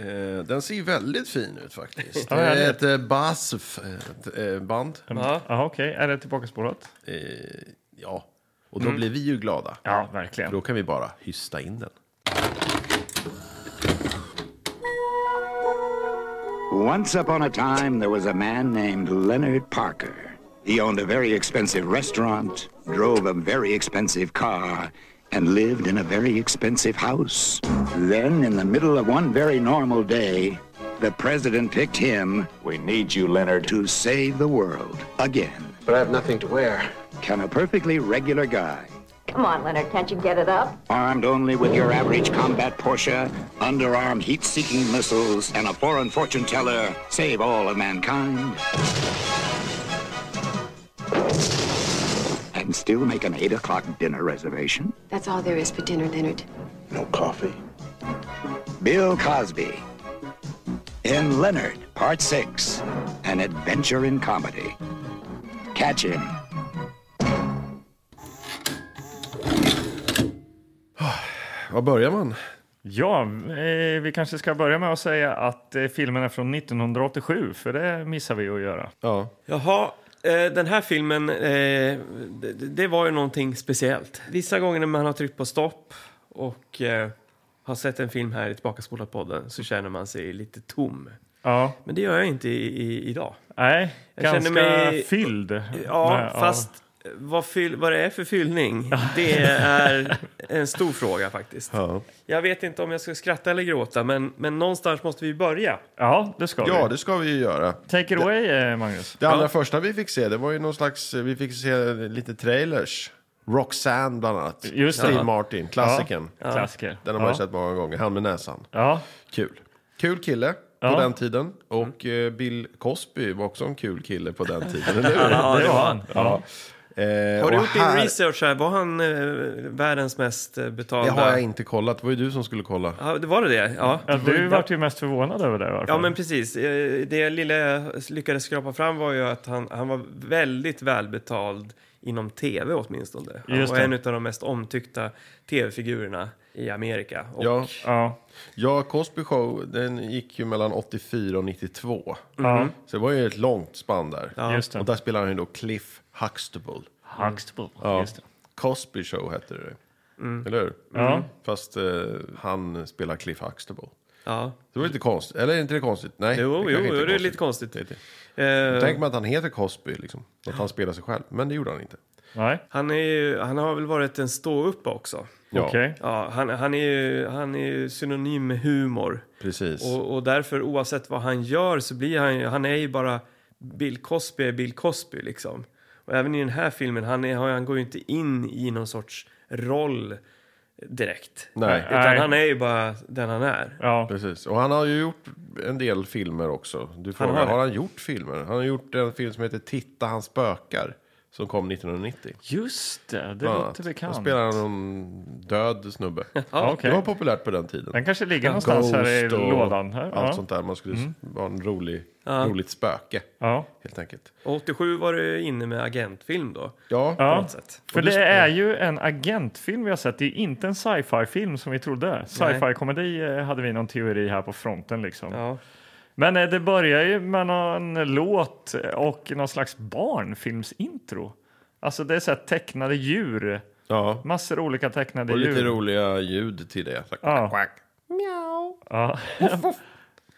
S1: Eh, den ser ju väldigt fin ut faktiskt.
S3: Ja,
S1: det är ett
S3: härligt.
S1: eh, basf ett, eh, band.
S2: Ja.
S3: Jaha, okej. Är det tillbaka spårat?
S1: Eh, ja, och då blir vi ju glada.
S3: Mm. Ja,
S1: För
S3: verkligen.
S1: Då kan vi bara hysta in den.
S4: Once upon a time, there was a man named Leonard Parker. He owned a very expensive restaurant, drove a very expensive car, and lived in a very expensive house. Then, in the middle of one very normal day, the president picked him
S5: We need you, Leonard.
S4: to save the world again.
S5: But I have nothing to wear.
S4: Can a perfectly regular guy,
S6: Come on, Leonard, can't you get it up?
S4: armed only with your average combat Porsche, underarmed heat-seeking missiles, and a foreign fortune teller, save all of mankind? And still make an 8 o'clock dinner reservation?
S7: That's all there is for dinner, Leonard.
S5: No coffee.
S4: Bill Cosby. In Leonard, Part 6, an adventure in comedy. Catch him.
S1: Var börjar man?
S3: Ja, eh, vi kanske ska börja med att säga att eh, filmen är från 1987, för det missar vi att göra.
S1: Ja,
S2: Jaha, eh, den här filmen, eh, det, det var ju någonting speciellt. Vissa gånger när man har tryckt på stopp och eh, har sett en film här i Tillbakaspolat-podden så känner man sig lite tom.
S3: Ja,
S2: Men det gör jag inte i, i, idag.
S3: nej,
S2: Jag
S3: ganska
S2: känner mig-
S3: fylld.
S2: Ja,
S3: Nej,
S2: fast vad, fyll, vad det är för fyllning, det är en stor fråga faktiskt.
S1: ja.
S2: Jag vet inte om jag ska skratta eller gråta, men, men någonstans måste vi börja.
S3: ja det ska
S1: ja
S3: vi.
S1: det ska vi ju göra.
S3: Take it away, eh, Magnus.
S1: Det allra
S2: Ja.
S1: första vi fick se, det var ju någon slags, vi fick se lite trailers. Roxanne bland annat.
S3: Just det.
S1: Steve
S3: Ja.
S1: Martin, klassikern.
S3: Klassiker.
S1: Den har man
S3: ja.
S1: ju sett många gånger, han med näsan.
S3: Ja,
S1: Kul. Kul kille
S3: Ja.
S1: på den tiden. Och eh, Bill Cosby var också en kul kille på den tiden, eller hur?
S2: Ja,
S3: det var han. Ja.
S1: Eh,
S2: Har du
S1: och
S2: gjort din research här? Var han eh, världens mest eh, betalda?
S1: Det har jag inte kollat, det var ju du som skulle kolla.
S2: Ja, det var det det? Ja.
S3: Ja, du vart ju mest förvånad över det. i alla
S2: Ja,
S3: fall.
S2: men precis. Eh, Det lilla jag lyckades skrapa fram var ju att han, han var väldigt välbetald inom tv åtminstone. Han
S3: Just
S2: var
S3: det.
S2: en av de mest omtyckta tv-figurerna i Amerika. Och
S1: Ja,
S3: ja.
S1: ja, Cosby Show, den gick ju mellan 84 och 92.
S3: Ja,
S1: Så det var ju ett långt spann där.
S3: just det.
S1: Och där spelar han ju då Cliff Huxtable.
S3: Huxtable. Just det.
S1: Cosby Show hette det. Eller hur?
S3: Ja.
S1: Fast eh, han spelar Cliff Huxtable.
S2: ja.
S1: Det var lite konstigt, eller är inte det konstigt? Nej,
S2: Jo,
S1: kanske
S2: jo,
S1: inte
S2: jo, det är lite konstigt.
S1: Det är det.
S2: Eh,
S1: Tänk mig att han heter Cosby, liksom. Att han spelar sig själv. Men det gjorde han inte.
S3: Nej,
S2: han, är ju, han har väl varit en ståuppe också.
S1: Ja,
S3: okej.
S2: Ja, han, han, är ju, han är ju synonym med humor.
S1: precis.
S2: Och, och därför, oavsett vad han gör, så blir han ju... Han är ju bara... Bill Cosby är Bill Cosby, liksom. Och även i den här filmen, han, är, han går ju inte in i någon sorts roll direkt.
S1: Nej.
S2: Utan
S3: Nej.
S2: han är ju bara den han är.
S3: Ja.
S1: Precis. Och han har ju gjort en del filmer också. Du frågar,
S2: har
S1: har,
S2: det.
S1: han gjort filmer? Han har gjort en film som heter Titta, han spökar. Som kom 1990.
S3: Just det, det
S1: bland annat.
S3: låter
S1: Då
S3: bekant.
S1: spelar han någon död snubbe.
S3: Ja,
S1: Det
S3: okej.
S1: var populärt på den tiden.
S3: Den kanske ligger någonstans här i
S1: Ghost och
S3: lådan. Här.
S1: Allt
S3: Ja. Mm.
S1: sånt där. Man skulle vara en rolig, roligt spöke.
S3: Ja.
S1: Helt enkelt.
S2: Och 87 var det inne med agentfilm då.
S1: Ja,
S2: På
S3: Ja.
S2: något sätt.
S3: För det är ju en agentfilm vi har sett. Det är inte en sci-fi-film som vi trodde. Sci-fi-komedi eh, hade vi någon teori här på fronten liksom.
S2: Ja.
S3: Men eh, det börjar ju med någon låt och någon slags barnfilmsintro. Alltså det är så här tecknade djur.
S1: Ja,
S3: Massor olika tecknade
S1: och
S3: djur.
S1: lite roliga ljud till det. Så,
S3: Ja.
S1: quack, quack.
S3: Ja.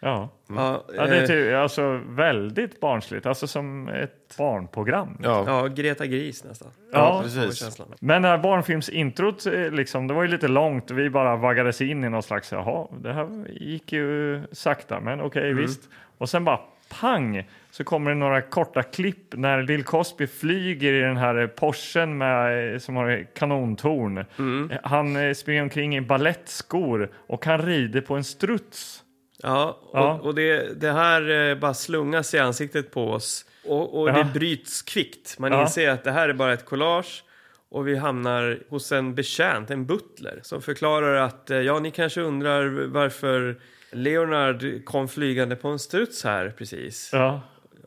S3: ja.
S2: Ja,
S3: ja, det är
S2: eh,
S3: typ, alltså väldigt barnsligt. Alltså som ett barnprogram.
S1: Ja.
S2: ja, Greta Gris nästan.
S3: Ja,
S2: Får
S1: precis.
S2: känslan.
S3: Men det här barnfilmsintrot, eh, liksom, det var ju lite långt. Vi bara vaggades in i någon slags, jaha, det här gick ju sakta, men okej, visst. Och sen bara pang, så kommer det några korta klipp när Bill Cosby flyger i den här eh, Porschen med, eh, som har kanontorn. Eh, Han eh, springer omkring i ballettskor och han rider på en struts.
S2: Ja, och,
S3: Ja.
S2: och det, det här eh, bara slungas i ansiktet på oss. Och, och
S3: Ja.
S2: det bryts kvickt. Man
S3: Ja.
S2: inser att det här är bara ett collage. Och vi hamnar hos en betjänt, en butler, som förklarar att eh, ja, ni kanske undrar varför Leonard kom flygande på en struts här precis.
S3: Ja.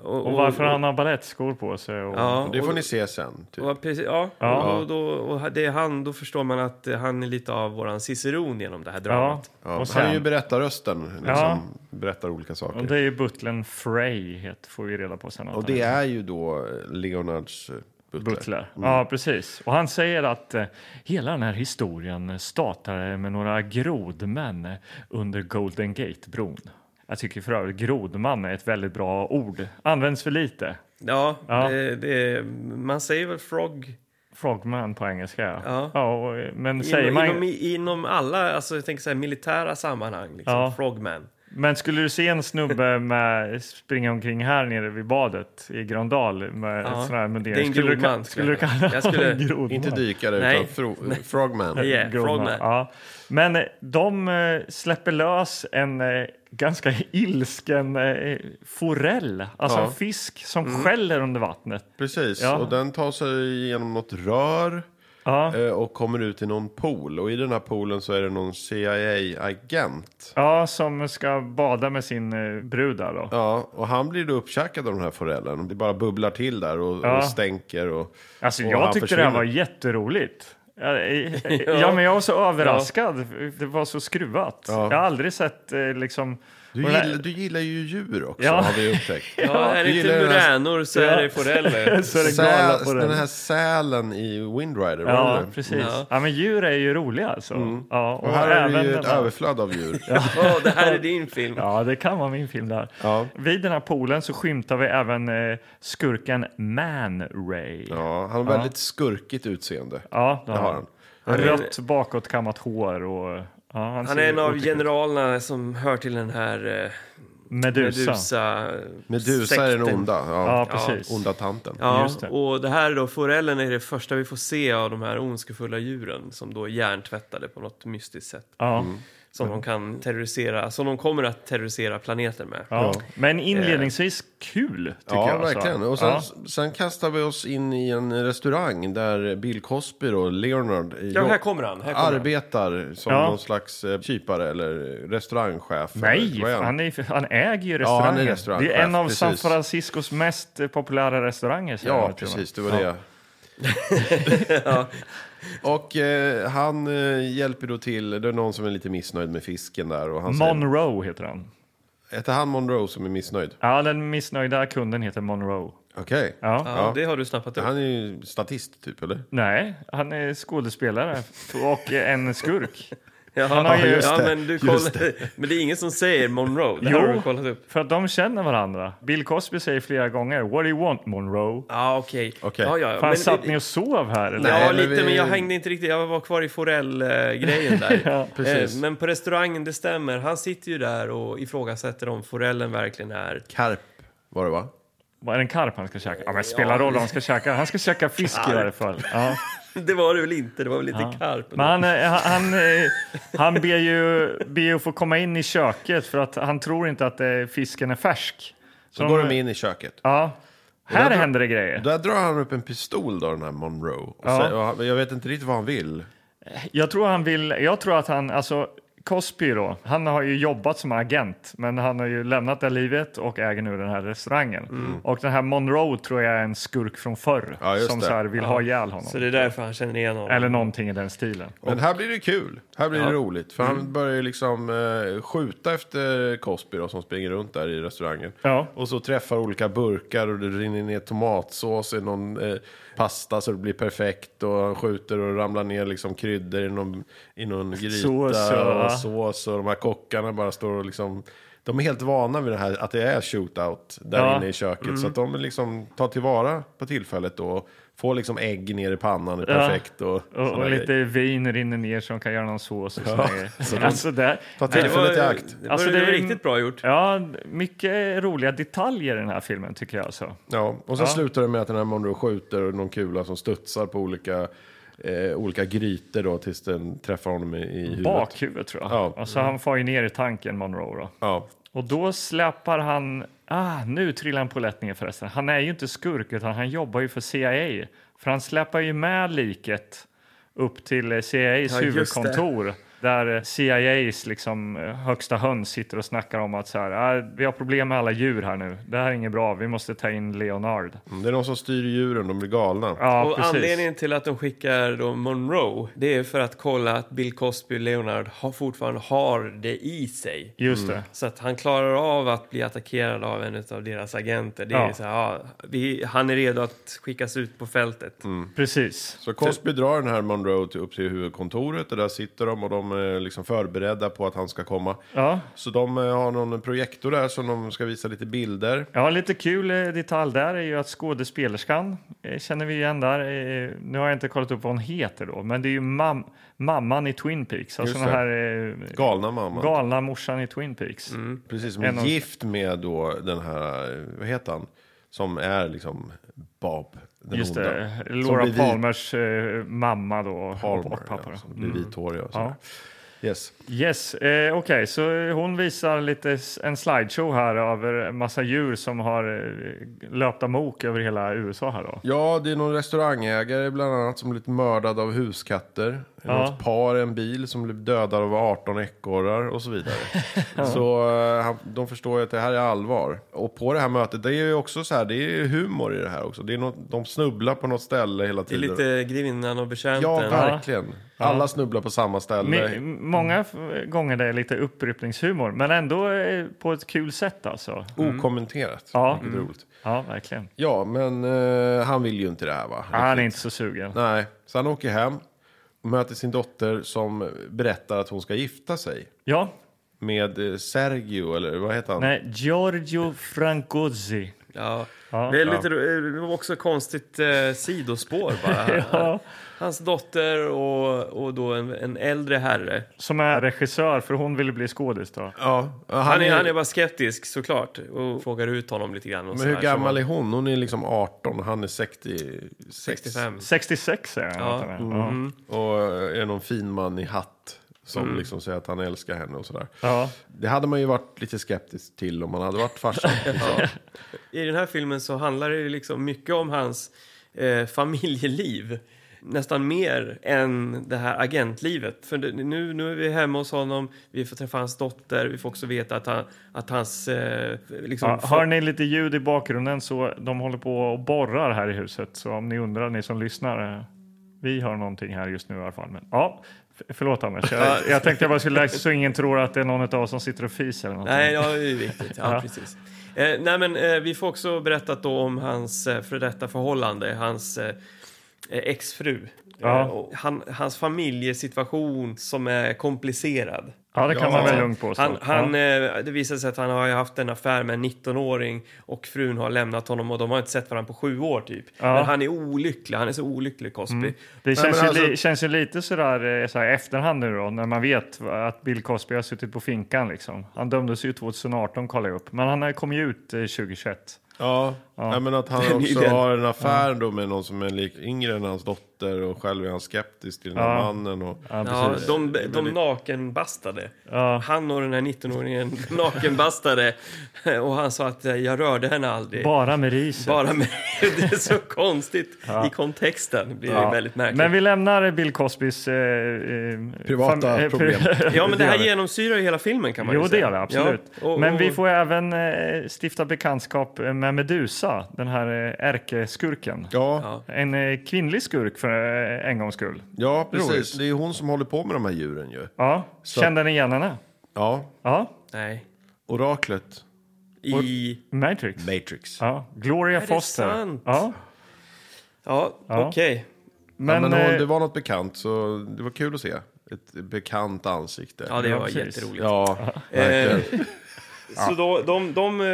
S2: Och,
S3: Och varför han har ballettskor på sig. Och,
S2: Ja,
S1: Det får
S2: och-
S1: ni se sen. Typ.
S2: och precis, ja,
S3: Ja.
S2: Och, då, och det är han, då förstår man att eh, han är lite av våran ciceron genom det här
S3: ja.
S2: dramat.
S1: Ja,
S3: och
S1: Han är ju
S3: sen,
S1: berättarrösten. Liksom,
S3: Ja.
S1: Berättar olika saker.
S3: och det är ju butlern Frey, het, får vi reda på sen. att
S1: Och
S3: han
S1: det är ju då Leonards eh, butler.
S3: Butler.
S2: Mm.
S3: Ja, precis. Och han säger att eh, hela den här historien startade med några grodmän under Golden Gate-bron. Jag tycker för övrigt grodman är ett väldigt bra ord. Används för lite.
S2: Ja,
S3: Ja.
S2: Det, det, man säger väl frog
S3: Frogman på engelska.
S2: Ja.
S3: och, eh, men säger
S2: Inom,
S3: man...
S2: inom, inom alla, alltså jag tänker så här, militära sammanhang, liksom,
S3: Ja.
S2: frogman.
S3: Men skulle du se en snubbe med springa omkring här nere vid badet i Gröndal med
S2: Ja.
S3: ja. sån här mundering,
S2: Det är en
S3: skulle, du, ka-
S2: grodman,
S3: skulle du
S2: skulle jag
S3: kalla
S2: Jag
S3: honom
S2: skulle-
S3: en grodman?
S1: Inte dykare,
S2: Nej.
S1: utan fro- Frogman.
S2: Yeah,
S3: Grodman,
S2: frogman.
S3: Ja. Men eh, de eh, släpper lös en eh, ganska ilsken eh, forell, alltså
S1: Ja. Mm.
S3: en fisk som skäller under vattnet.
S1: Precis,
S3: Ja.
S1: och den tar sig genom något rör
S3: Ja.
S1: eh, och kommer ut i någon pool. Och i den här poolen så är det någon CIA-agent.
S3: Ja, som ska bada med sin eh, brud där då.
S1: Ja, och han blir då uppkäkad av den här forellen. Det bara bubblar till där och,
S3: Ja.
S1: och stänker. Och,
S3: Alltså
S1: och
S3: jag
S1: han
S3: tyckte det här var
S1: försvinner.
S3: jätteroligt. Ja, eh, eh, ja, men jag var så överraskad. Det var så skruvat. Jag har aldrig sett eh, liksom...
S1: Du
S3: och det här-
S1: gillar, du gillar ju djur också,
S3: Ja.
S1: har vi upptäckt.
S2: Ja, är
S1: Du
S2: det
S1: gillar
S2: inte
S1: den här-
S2: muränor så är det foreller.
S3: Så är det galna
S1: Säl,
S3: på
S1: den
S3: den.
S1: här sälen i Windrider, var det
S3: Ja,
S1: det?
S3: precis.
S2: Ja.
S3: Ja. men djur är ju roliga alltså.
S1: Mm.
S3: Ja, och
S1: Och här är det
S3: även
S1: ju
S3: den
S1: ett
S3: här-
S1: överflöd av djur.
S2: Åh, det här är din film.
S3: Ja, det kan vara min film där.
S1: Ja.
S3: Vid den här poolen så skymtar vi även eh, skurken Man Ray. Ja,
S1: Ja, han har väldigt skurkigt utseende.
S3: det
S1: Det
S3: har
S1: har
S3: han.
S1: han.
S3: Rött bakåtkammat hår och... Ja, han,
S2: Han
S3: ser
S2: är en av
S3: otäck ut.
S2: generalerna som hör till den här eh,
S3: Medusa.
S2: Medusa...
S1: Medusa är den
S2: sekten.
S1: onda. Ja,
S3: Ja, precis.
S1: Onda tanten.
S2: Ja,
S3: Just det.
S2: och det här då, forellen är det första vi får se av de här ondskefulla djuren som då är hjärntvättade på något mystiskt sätt.
S3: Ja,
S1: Mm.
S2: Som
S3: Mm.
S2: de kan terrorisera, som de kommer att terrorisera planeten med.
S3: ja. Men inledningsvis kul, tycker
S1: ja,
S3: jag. alltså.
S1: verkligen. Och sen,
S3: Ja.
S1: sen kastar vi oss in i en restaurang där Bill Cosby och Leonard i-
S2: Ja, här kommer han. Här kommer han.
S1: arbetar som
S3: Ja.
S1: någon slags eh, kypare eller restaurangchef.
S3: Nej,
S1: eller vad är
S3: han, är, han äger ju
S1: han är
S3: restaurangen. det
S1: restaurangchef,
S3: är en av San
S1: precis.
S3: Franciscos mest eh, populära restauranger. säger
S1: Ja,
S3: jag, tror jag.
S1: precis. Det var det. och eh, han eh, hjälper då till. Det är någon som är lite missnöjd med fisken där. Och han säger,
S3: Monroe heter han.
S1: heter han Monroe som är missnöjd?
S3: Ja, den missnöjda kunden heter Monroe.
S1: Okej.
S3: Ja.
S2: Ja, det har du snappat upp.
S1: Han är ju statist typ, eller?
S3: Nej, han är skådespelare och en skurk.
S2: Ja,
S3: har ju-
S2: ja,
S3: just
S1: det,
S2: men, du
S1: just
S2: kollar, men det är ingen som säger Monroe. Det
S3: Jo.
S2: har du kollat upp.
S3: För att de känner varandra. Bill Cosby säger flera gånger “What do you want Monroe?”
S2: Ja, okej.
S1: Okej.
S2: Ja, ja, ja.
S3: Fan,
S2: Men-
S3: satt ni och sov här eller?
S2: Ja,
S1: Nej, men
S2: lite,
S1: vi-
S2: men jag hängde inte riktigt. Jag var kvar i Forell-grejen där.
S1: precis.
S2: Eh, Men på restaurangen, det stämmer. Han sitter ju där och ifrågasätter om Forellen verkligen är...
S1: Karp var det va?
S3: Var det en karp han ska käka? Ja, men spelar roll vad han ska käka. Han ska käka fisk i varje fall. Ja.
S2: Det var det väl inte? Det var väl lite karp?
S3: Men han, eh, han, han, eh, han ber ju, ber ju att få komma in i köket för att han tror inte att eh, fisken är färsk.
S1: Så går de in i köket.
S3: Ja. Här
S1: därför-
S3: händer det grejer.
S1: Där drar han upp en pistol då, den här Monroe. Och
S3: Ja.
S1: säger, och han- jag vet inte riktigt vad han vill.
S3: Jag tror han vill, jag tror att han, alltså Cosby då, han har ju jobbat som agent men han har ju lämnat det livet och äger nu den här restaurangen. Och den här Monroe tror jag är en skurk från förr
S1: Mm. Ja, just
S3: som
S1: det.
S3: så här vill ha ihjäl honom.
S2: Så alltså, det är därför han känner igen honom.
S3: Eller någonting i den stilen.
S1: Men här blir det kul. Här blir det roligt. För
S3: Mm.
S1: han börjar ju liksom eh, skjuta efter Cosby då, som springer runt där i restaurangen.
S3: Ja.
S1: Och så träffar olika burkar och det rinner ner tomatsås i någon eh, pasta så det blir perfekt. Och han skjuter och ramlar ner liksom kryddor i någon, i någon gryta
S3: Sås, ja.
S1: och sås. Och de här kockarna bara står och liksom... De är helt vana vid det här att det är shootout där
S3: Ja. Mm.
S1: inne i köket. Så att de liksom tar tillvara på tillfället då. och Får liksom ägg ner i pannan, är perfekt. Och,
S3: Och,
S1: såna
S3: och
S1: grejer.
S3: lite vin rinner ner som kan göra någon sås och såna grejer. Alltså där,
S1: Ta
S2: Det var,
S1: tillfället i akt.
S2: det var,
S3: Alltså,
S2: det
S3: det
S2: var
S3: är-
S2: riktigt bra gjort.
S3: ja, mycket roliga detaljer i den här filmen tycker jag. Alltså.
S1: Ja, och så slutar det med att den här Monroe skjuter någon kula som studsar på olika, eh, olika grytor då tills den träffar honom i, i huvudet.
S3: Bakhuvudet tror jag.
S1: Ja.
S3: Alltså, han far ju ner i tanken, Monroe. Då.
S1: Ja.
S3: Och då släpar han... Ah, nu trillar han på lätt ner förresten. Han är ju inte skurk, utan han jobbar ju för CIA. För han släpar ju med liket upp till eh, CIAs
S2: Ja, just
S3: huvudkontor. Där eh, CIAs liksom, eh, högsta höns sitter och snackar om att så här, ah, vi har problem med alla djur här nu. Det här är inget bra, vi måste ta in Leonard.
S1: Mm, Det är de som styr djuren, de blir galna.
S3: Ja,
S2: och
S3: precis.
S2: anledningen till att de skickar då Monroe, det är för att kolla att Bill Cosby och Leonard har, fortfarande har det i sig.
S3: Just det.
S2: Så att han klarar av att bli attackerad av en av deras agenter. Det är
S3: Ja.
S2: så här, ja, vi, han är redo att skickas ut på fältet.
S1: Mm.
S3: Precis.
S1: Så Cosby drar den här Monroe till, upp till huvudkontoret och där sitter de och de är liksom förberedda på att han ska komma.
S3: Ja.
S1: Så de eh, har någon projektor där som de ska visa lite bilder.
S3: Ja, lite kul eh, detalj där är ju att skådespelerskan eh, känner vi igen där. Eh, Nu har jag inte kollat upp vad hon heter då, men det är ju mam mamman i Twin Peaks. Alltså
S1: Just
S3: den
S1: det.
S3: här eh,
S1: Galna mamman.
S3: galna morsan i Twin Peaks.
S1: Precis, som
S3: En
S1: är
S3: av-
S1: gift med då den här, eh, vad heter han? Som är liksom Bob, den
S3: Just
S1: onda.
S3: det,
S1: Som
S3: Laura
S1: blir vit-
S3: Palmers eh, mamma då och-
S1: Palmer,
S3: och pappa.
S1: ja,
S3: då.
S1: som blir vithårig och sådär. Yes.
S3: Yes, eh, okej, så eh, hon visar lite s- en slideshow här över en massa djur som har eh, löpt amok över hela USA här då.
S1: Ja, det är någon restaurangägare bland annat som blivit mördad av huskatter.
S3: Ja.
S1: Något par i en bil som blev dödad av 18 ekorrar och så vidare. Så eh, han- de förstår ju att det här är allvar. Och på det här mötet, det är ju också så här, det är ju humor i det här också. Det är något, de snubblar på något ställe hela
S2: Det är
S1: tiden.
S2: lite grevinnan och betjänten.
S1: Ja, verkligen. Alla snubblar på samma ställe.
S3: Mi- många f- gånger det är lite uppryckningshumor, men ändå eh, på ett kul sätt alltså.
S1: Okommenterat.
S3: Ja. Mm.
S1: Vilket är roligt.
S3: Ja, verkligen.
S1: Ja, men eh, han vill ju inte det här va?
S3: Han är inte så sugen.
S1: Nej, så han åker hem, möter sin dotter som berättar att hon ska gifta sig
S3: Ja,
S1: med eh, Sergio, eller vad heter han?
S3: nej, Giorgio Francozzi.
S2: Ja.
S3: Ja.
S2: det är lite ro- det var också ett konstigt eh, sidospår bara.
S3: Ja,
S2: Hans dotter och, och då en, en äldre herre.
S3: som är regissör, för hon ville bli skådis då.
S1: Ja, han,
S2: Han är,
S1: är,
S2: han är bara skeptisk såklart och frågar ut honom lite grann. Och
S1: Men hur gammal är hon? Hon är liksom 18, han är 60,
S2: 65.
S3: 66 är han.
S2: Ja.
S3: att han är. Ja.
S1: Och eh, är någon fin man i hatt som liksom säger att han älskar henne och sådär.
S3: Ja.
S1: Det hade man ju varit lite skeptisk till om man hade varit farsan. liksom.
S2: I den här filmen så handlar det ju liksom mycket om hans eh, familjeliv. Nästan mer än det här agentlivet. För det, nu, nu är vi hemma hos honom, vi får träffa hans dotter, vi får också veta att, han, att hans... Eh, liksom,
S3: Ja, hör ni lite ljud i bakgrunden så de håller på och borrar här i huset. Så om ni undrar, ni som lyssnar. eh, Vi hör någonting här just nu i alla fall. Men, ja, f- förlåt Anders, jag, jag tänkte jag bara skulle läsa så ingen tror att det är någon av oss som sitter och fiser. Eller någonting.
S2: Nej, ja, det är ju viktigt. Ja, precis. Eh, nej, men eh, vi får också berättat då om hans eh, före detta förhållande, hans eh, eh, exfru.
S3: Ja.
S2: Eh, och han, hans familjesituation som är komplicerad.
S3: ja, det kan
S1: Ja.
S3: man väl lugnt påstå.
S2: Han, han,
S3: ja.
S2: eh, det visar sig att han har ju haft en affär med en 19-åring och frun har lämnat honom och de har inte sett varandra på sju år typ.
S3: Ja. Mm.
S2: Men han är olycklig, han är så olycklig Cosby.
S3: Det
S1: men
S3: känns, ju, li-
S1: alltså-
S3: känns ju lite sådär eh, så här, efterhand nu då, när man vet va- att Bill Cosby har suttit på finkan. Liksom. Han dömdes ju 2018 kollar jag upp, men han har ju kommit ut eh, 2021.
S1: Ja, Nej, men att han
S2: är ju
S1: också
S2: den.
S1: har en affär då med någon som är lik yngre än hans dotter dotter och själv är han skeptisk till den här
S3: Ja.
S1: mannen. Och,
S3: Ja,
S2: Ja,
S3: precis.
S2: de, de nakenbastade.
S3: Ja.
S2: Han och den här 19-åringen nakenbastade. Och han sa att eh, jag rörde henne aldrig.
S3: Bara med riset.
S2: Bara med, det är så konstigt. I kontexten blir det
S3: Ja.
S2: väldigt märkligt.
S3: Men vi lämnar Bill Cosbys... Eh, eh,
S1: Privata
S3: fam- eh,
S1: problem.
S3: pri-
S2: Ja, men det här
S1: gör det.
S2: genomsyrar ju hela filmen kan man
S3: jo,
S2: ju
S3: det
S2: säga.
S3: gör det absolut.
S2: Ja, och-
S3: Men vi
S2: och-
S3: får även eh, stifta bekantskap med Medusa, den här eh, ärkeskurken.
S1: ja,
S3: En eh, kvinnlig skurk för eh, en gångs skull.
S1: ja, precis.
S3: Roligt.
S1: Det är hon som håller på med de här djuren ju.
S3: Ja,
S1: Så-
S3: kände ni igen henne?
S1: Ja,
S3: Ja,
S2: Nej.
S1: oraklet.
S2: I...
S3: Matrix.
S1: Matrix.
S3: Ja, Gloria
S2: det
S3: Foster.
S2: sant?
S3: Ja,
S2: Ja,
S3: Ja.
S2: okej.
S1: Men,
S3: men,
S1: men hon,
S3: eh,
S1: det var något bekant, så det var kul att se. Ett bekant ansikte.
S2: Ja, det Eh,
S3: Ja,
S2: var
S3: precis.
S2: jätteroligt.
S1: Ja, verkligen.
S2: Så då, de, de, eh,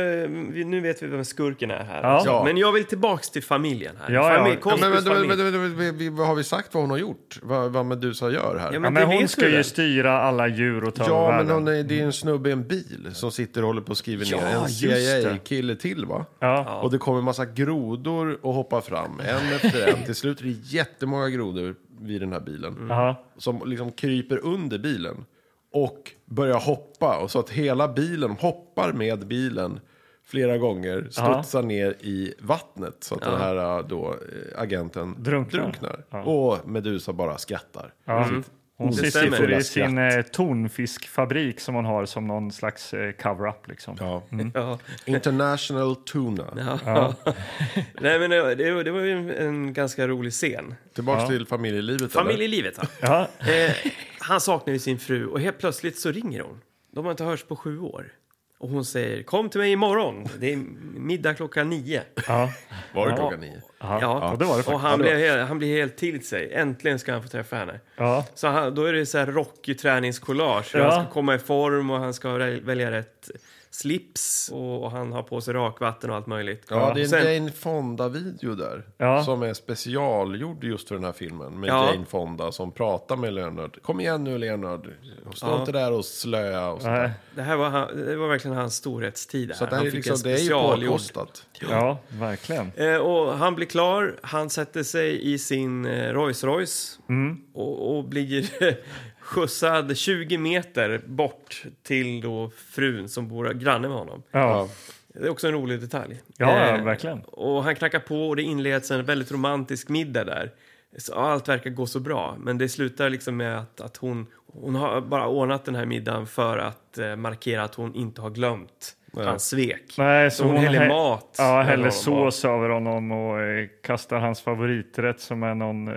S2: vi- nu vet vi vem skurken är här.
S3: Ja.
S1: Ja.
S2: Men jag vill tillbaks till familjen här.
S3: Ja, ja.
S2: Familj,
S3: Ja,
S1: Ja,
S2: Cosbys
S1: men, vänta,
S2: familj.
S1: vänta, vänta, vänta, vi- vi- vad har vi sagt vad hon har gjort? Vad, vad Medusa gör här?
S2: Ja,
S3: ja,
S2: det
S3: men hon
S2: vet
S3: ska
S2: du väl?
S3: ju styra alla djur och ta
S1: Ja,
S3: över
S1: men
S3: världen.
S1: hon är, det är en snubbe i en bil som sitter och håller på och skriver
S2: Ja,
S1: ner. En
S2: just det.
S1: CIA-kille till va?
S3: Ja.
S1: Och det kommer en massa grodor och hoppar fram, en efter en. Till slut är det jättemånga grodor vid den här
S2: Mm.
S1: bilen.
S3: Ja.
S1: Som liksom kryper under bilen och börjar hoppa. Och så att hela bilen hoppar med bilen flera gånger. Studsar ner i vattnet. Så att den här eh, då, eh, agenten
S3: Drunknar.
S1: Och Medusa bara skrattar.
S3: Ja. Mm. Hon
S2: Det
S3: sitter
S2: stämmer.
S3: i sin eh, tonfiskfabrik som hon har som någon slags eh, cover-up. Liksom.
S1: Ja.
S2: Ja.
S1: International Tuna.
S2: Nej, men det, det, var- det var ju en, en ganska rolig scen.
S1: Tillbaks till familjelivet. eller?
S2: Familjelivet, här.
S3: Ja.
S2: Eh, han saknar ju sin fru och helt plötsligt så ringer hon. De har inte hörts på sju år. Och hon säger kom till mig imorgon. Det är middag klockan nio.
S3: Ja.
S1: Var det klockan nio?
S3: Ja. Ja, det var det
S2: och
S3: faktiskt.
S2: han blir, helt, han blir helt till sig. Äntligen ska han få träffa henne.
S3: Ja.
S2: Så han, då är det så här rockig träningscollage.
S3: Ja.
S2: Ja. Han ska komma i form och han ska rä- välja rätt slips och, och han har på sig rakvatten och allt möjligt.
S1: Ja, det är en
S2: Sen-
S1: Jane Fonda-video där.
S3: Ja.
S1: Som är specialgjord just för den här filmen. Med
S2: Ja.
S1: Jane Fonda som pratar med Leonard. Kom igen nu Leonard. Stå inte där och slöa och sånt där.
S3: Nej.
S2: Det här var, han, det var verkligen hans storhetstid. Där.
S1: Så att det, här
S2: han
S1: är
S2: fick
S1: liksom,
S2: en
S1: det är ju
S2: specialgjord-
S1: påkostat.
S3: ja, verkligen.
S2: Eh, och han blir klar, han sätter sig i sin eh, Rolls Royce
S3: Mm.
S2: och, och blir skjutsad 20 meter bort till då frun som bor granne med honom.
S3: Ja,
S2: Det är också en rolig detalj.
S3: ja, ja
S2: Eh,
S3: verkligen.
S2: Och han knackar på och det inleds en väldigt romantisk middag där. Så allt verkar gå så bra, men det slutar liksom med att, att hon, hon har bara ordnat den här middagen för att eh, markera att hon inte har glömt hans svek.
S3: Nej,
S2: så hon häller
S3: hä-
S2: mat
S3: Ja,
S2: över
S3: häller
S2: honom.
S3: sås över honom och eh, kastar hans favoriträtt som är någon eh,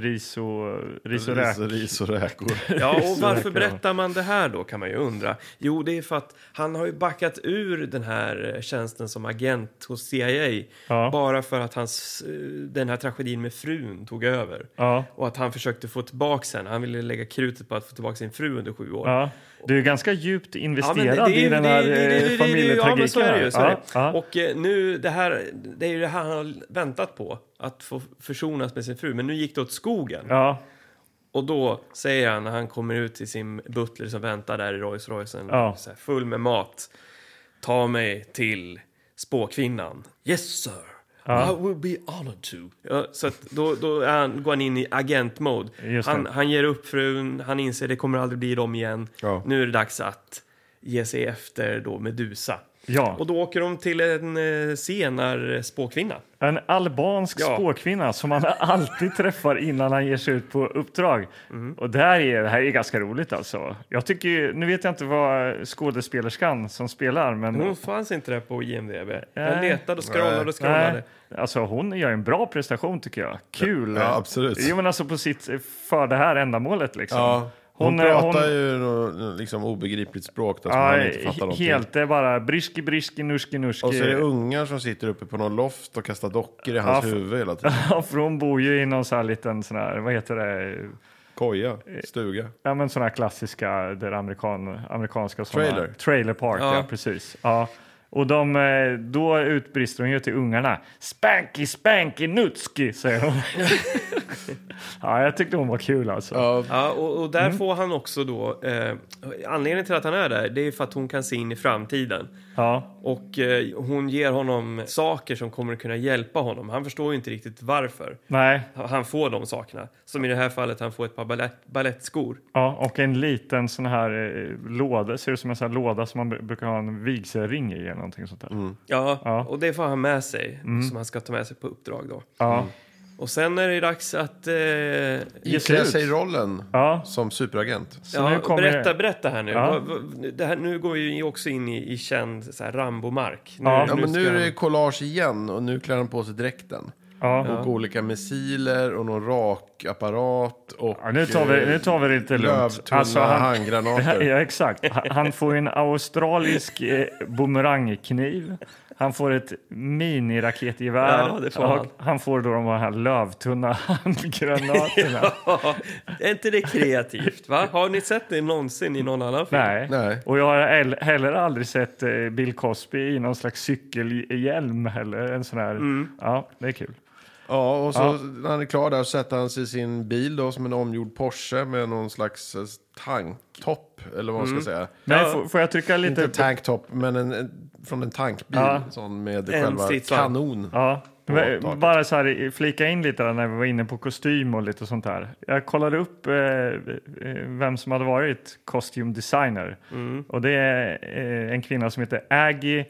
S3: ris och, eh, ris och räk.
S1: Ris, ris och räkor.
S2: Ja, och varför
S3: verkar det.
S2: berättar man det här då kan man ju undra. Jo, det är för att han har ju backat ur den här eh, tjänsten som agent hos CIA.
S3: Ja.
S2: Bara för att hans, eh, den här tragedin med frun tog över.
S3: Ja.
S2: Och att han försökte få tillbaka henne. Han ville lägga krutet på att få tillbaka sin fru under sju år.
S3: Ja. Du är ganska djupt
S2: Ja, men
S3: investerad i den här
S2: det- det- det- det-
S3: eh,
S2: det- Ja, men så
S3: familjetragiken.
S2: är det
S3: här.
S2: ju. Så är det.
S3: Ja, ja.
S2: Och eh, nu, det här, det är ju det här han har väntat på. Att få försonas med sin fru. Men nu gick det åt skogen.
S3: Ja,
S2: Och då säger han när han kommer ut till sin butler som väntar där i Rolls Roycen,
S3: Ja.
S2: så här, full med mat. Ta mig till spåkvinnan. Yes sir. I will be honored to. Ja, så att då, då är han, går han in i agentmode.
S3: Just det.
S2: Han, han ger upp frun, han inser det kommer aldrig bli dem igen.
S1: Ja.
S2: Nu är det dags att ge sig efter då Medusa.
S3: Ja.
S2: Och då åker de till en eh, senarspåkvinna.
S3: En albansk
S2: Ja.
S3: spåkvinna som han alltid träffar innan han ger sig ut på uppdrag.
S2: Mm.
S3: Och det här, är, det här är ganska roligt alltså. Jag tycker ju, nu vet jag inte vad skådespelerskan som spelar, men
S2: Hon fanns inte där på IMDB. Jag
S3: Mm. Nej.
S2: letade och scrollade och scrollade.
S3: nej, alltså hon gör en bra prestation tycker jag. Kul!
S1: Ja, absolut.
S3: Jo men alltså på sitt, för det här ändamålet liksom.
S1: Ja. Hon,
S3: eh,
S1: pratar ju nå- liksom obegripligt språk där som
S3: Ja,
S1: man inte fattar
S3: he-
S1: någonting.
S3: helt, det är bara briski briski nuski nuski.
S1: Och så är det ungar som sitter uppe på någon loft och kastar dockor i hans
S3: Ja, för-
S1: huvud hela tiden.
S3: Ja, för hon bor ju i någon sån här liten sån här, vad heter det?
S1: Koja, stuga.
S3: Ja men sådana här klassiska, där amerikan, amerikanska såna,
S1: Trailer.
S3: trailer park, ja,
S2: Ja.
S3: precis. Ja. Och de, eh, då utbrister hon ju till ungarna. Spanky, spanky, nutski, säger hon. ja, jag tyckte hon var kul alltså.
S2: Ja, och, och där
S3: Mm.
S2: får han också då... Eh, anledningen till att han är där det är för att hon kan se in i framtiden.
S3: Ja,
S2: Och eh, hon ger honom saker som kommer att kunna hjälpa honom. Han förstår ju inte riktigt varför
S3: nej.
S2: han får de sakerna. Som i det här fallet, han får ett par balett, ballettskor.
S3: Ja, och en liten sån här eh, låda. Ser ut som en sån här låda som man br- brukar ha en vigselring i eller någonting sånt där.
S2: Ja,
S3: Ja. Mm.
S2: och det får han med sig, som han ska ta med sig på uppdrag då. Mm.
S3: Ja,
S2: Och sen är det dags att... Eh,
S3: Ge sig
S1: Klä
S3: ut.
S1: sig i rollen
S3: ja.
S1: som superagent.
S3: Så nu
S2: ja,
S3: kommer
S2: berätta, berätta här nu.
S3: Ja.
S2: Vad- vad- Det här, nu går vi ju också in i, i känd så här, Rambo-mark. Nu,
S3: Ja.
S1: Ja, men
S2: ska
S1: nu är
S2: han-
S1: det collage igen och nu klär han på sig dräkten.
S3: Ja.
S1: Och olika missiler och någon rakapparat och... eh,
S3: Ja, nu, tar vi, nu tar vi det lite lugnt.
S1: Lövtunna handgranater.
S3: Det här- ja, exakt. Ha- Han får en australisk eh, bumerangkniv. Han får ett miniraketgevär.
S2: Ja, det får
S3: och
S2: han.
S3: han får då de här lövtunna handgranaterna.
S2: Ja, är inte det kreativt? Va? Har ni sett det någonsin i någon annan film?
S3: Nej.
S1: Nej.
S3: Och jag har el- heller aldrig sett eh, Bill Cosby i någon slags cykelhjälm heller. En sån här.
S2: Mm.
S3: Ja, det är kul.
S1: Ja, och så när han är klar där så sätter han sig i sin bil då som en omgjord Porsche med någon slags eh, tanktopp, eller vad man
S3: Mm.
S1: ska säga.
S3: Men får, får jag trycka lite?
S1: Inte tanktopp, men en, en, från en tankbil.
S3: Ja.
S1: Sån med
S2: En
S1: själva
S2: stridsvagn.
S1: kanon.
S3: Ja, men
S1: taket.
S3: bara så här, i- flika in lite där när vi var inne på kostym och lite sånt där. Jag kollade upp eh, eh, vem som hade varit kostymdesigner. Och det är eh, en kvinna som heter Aggie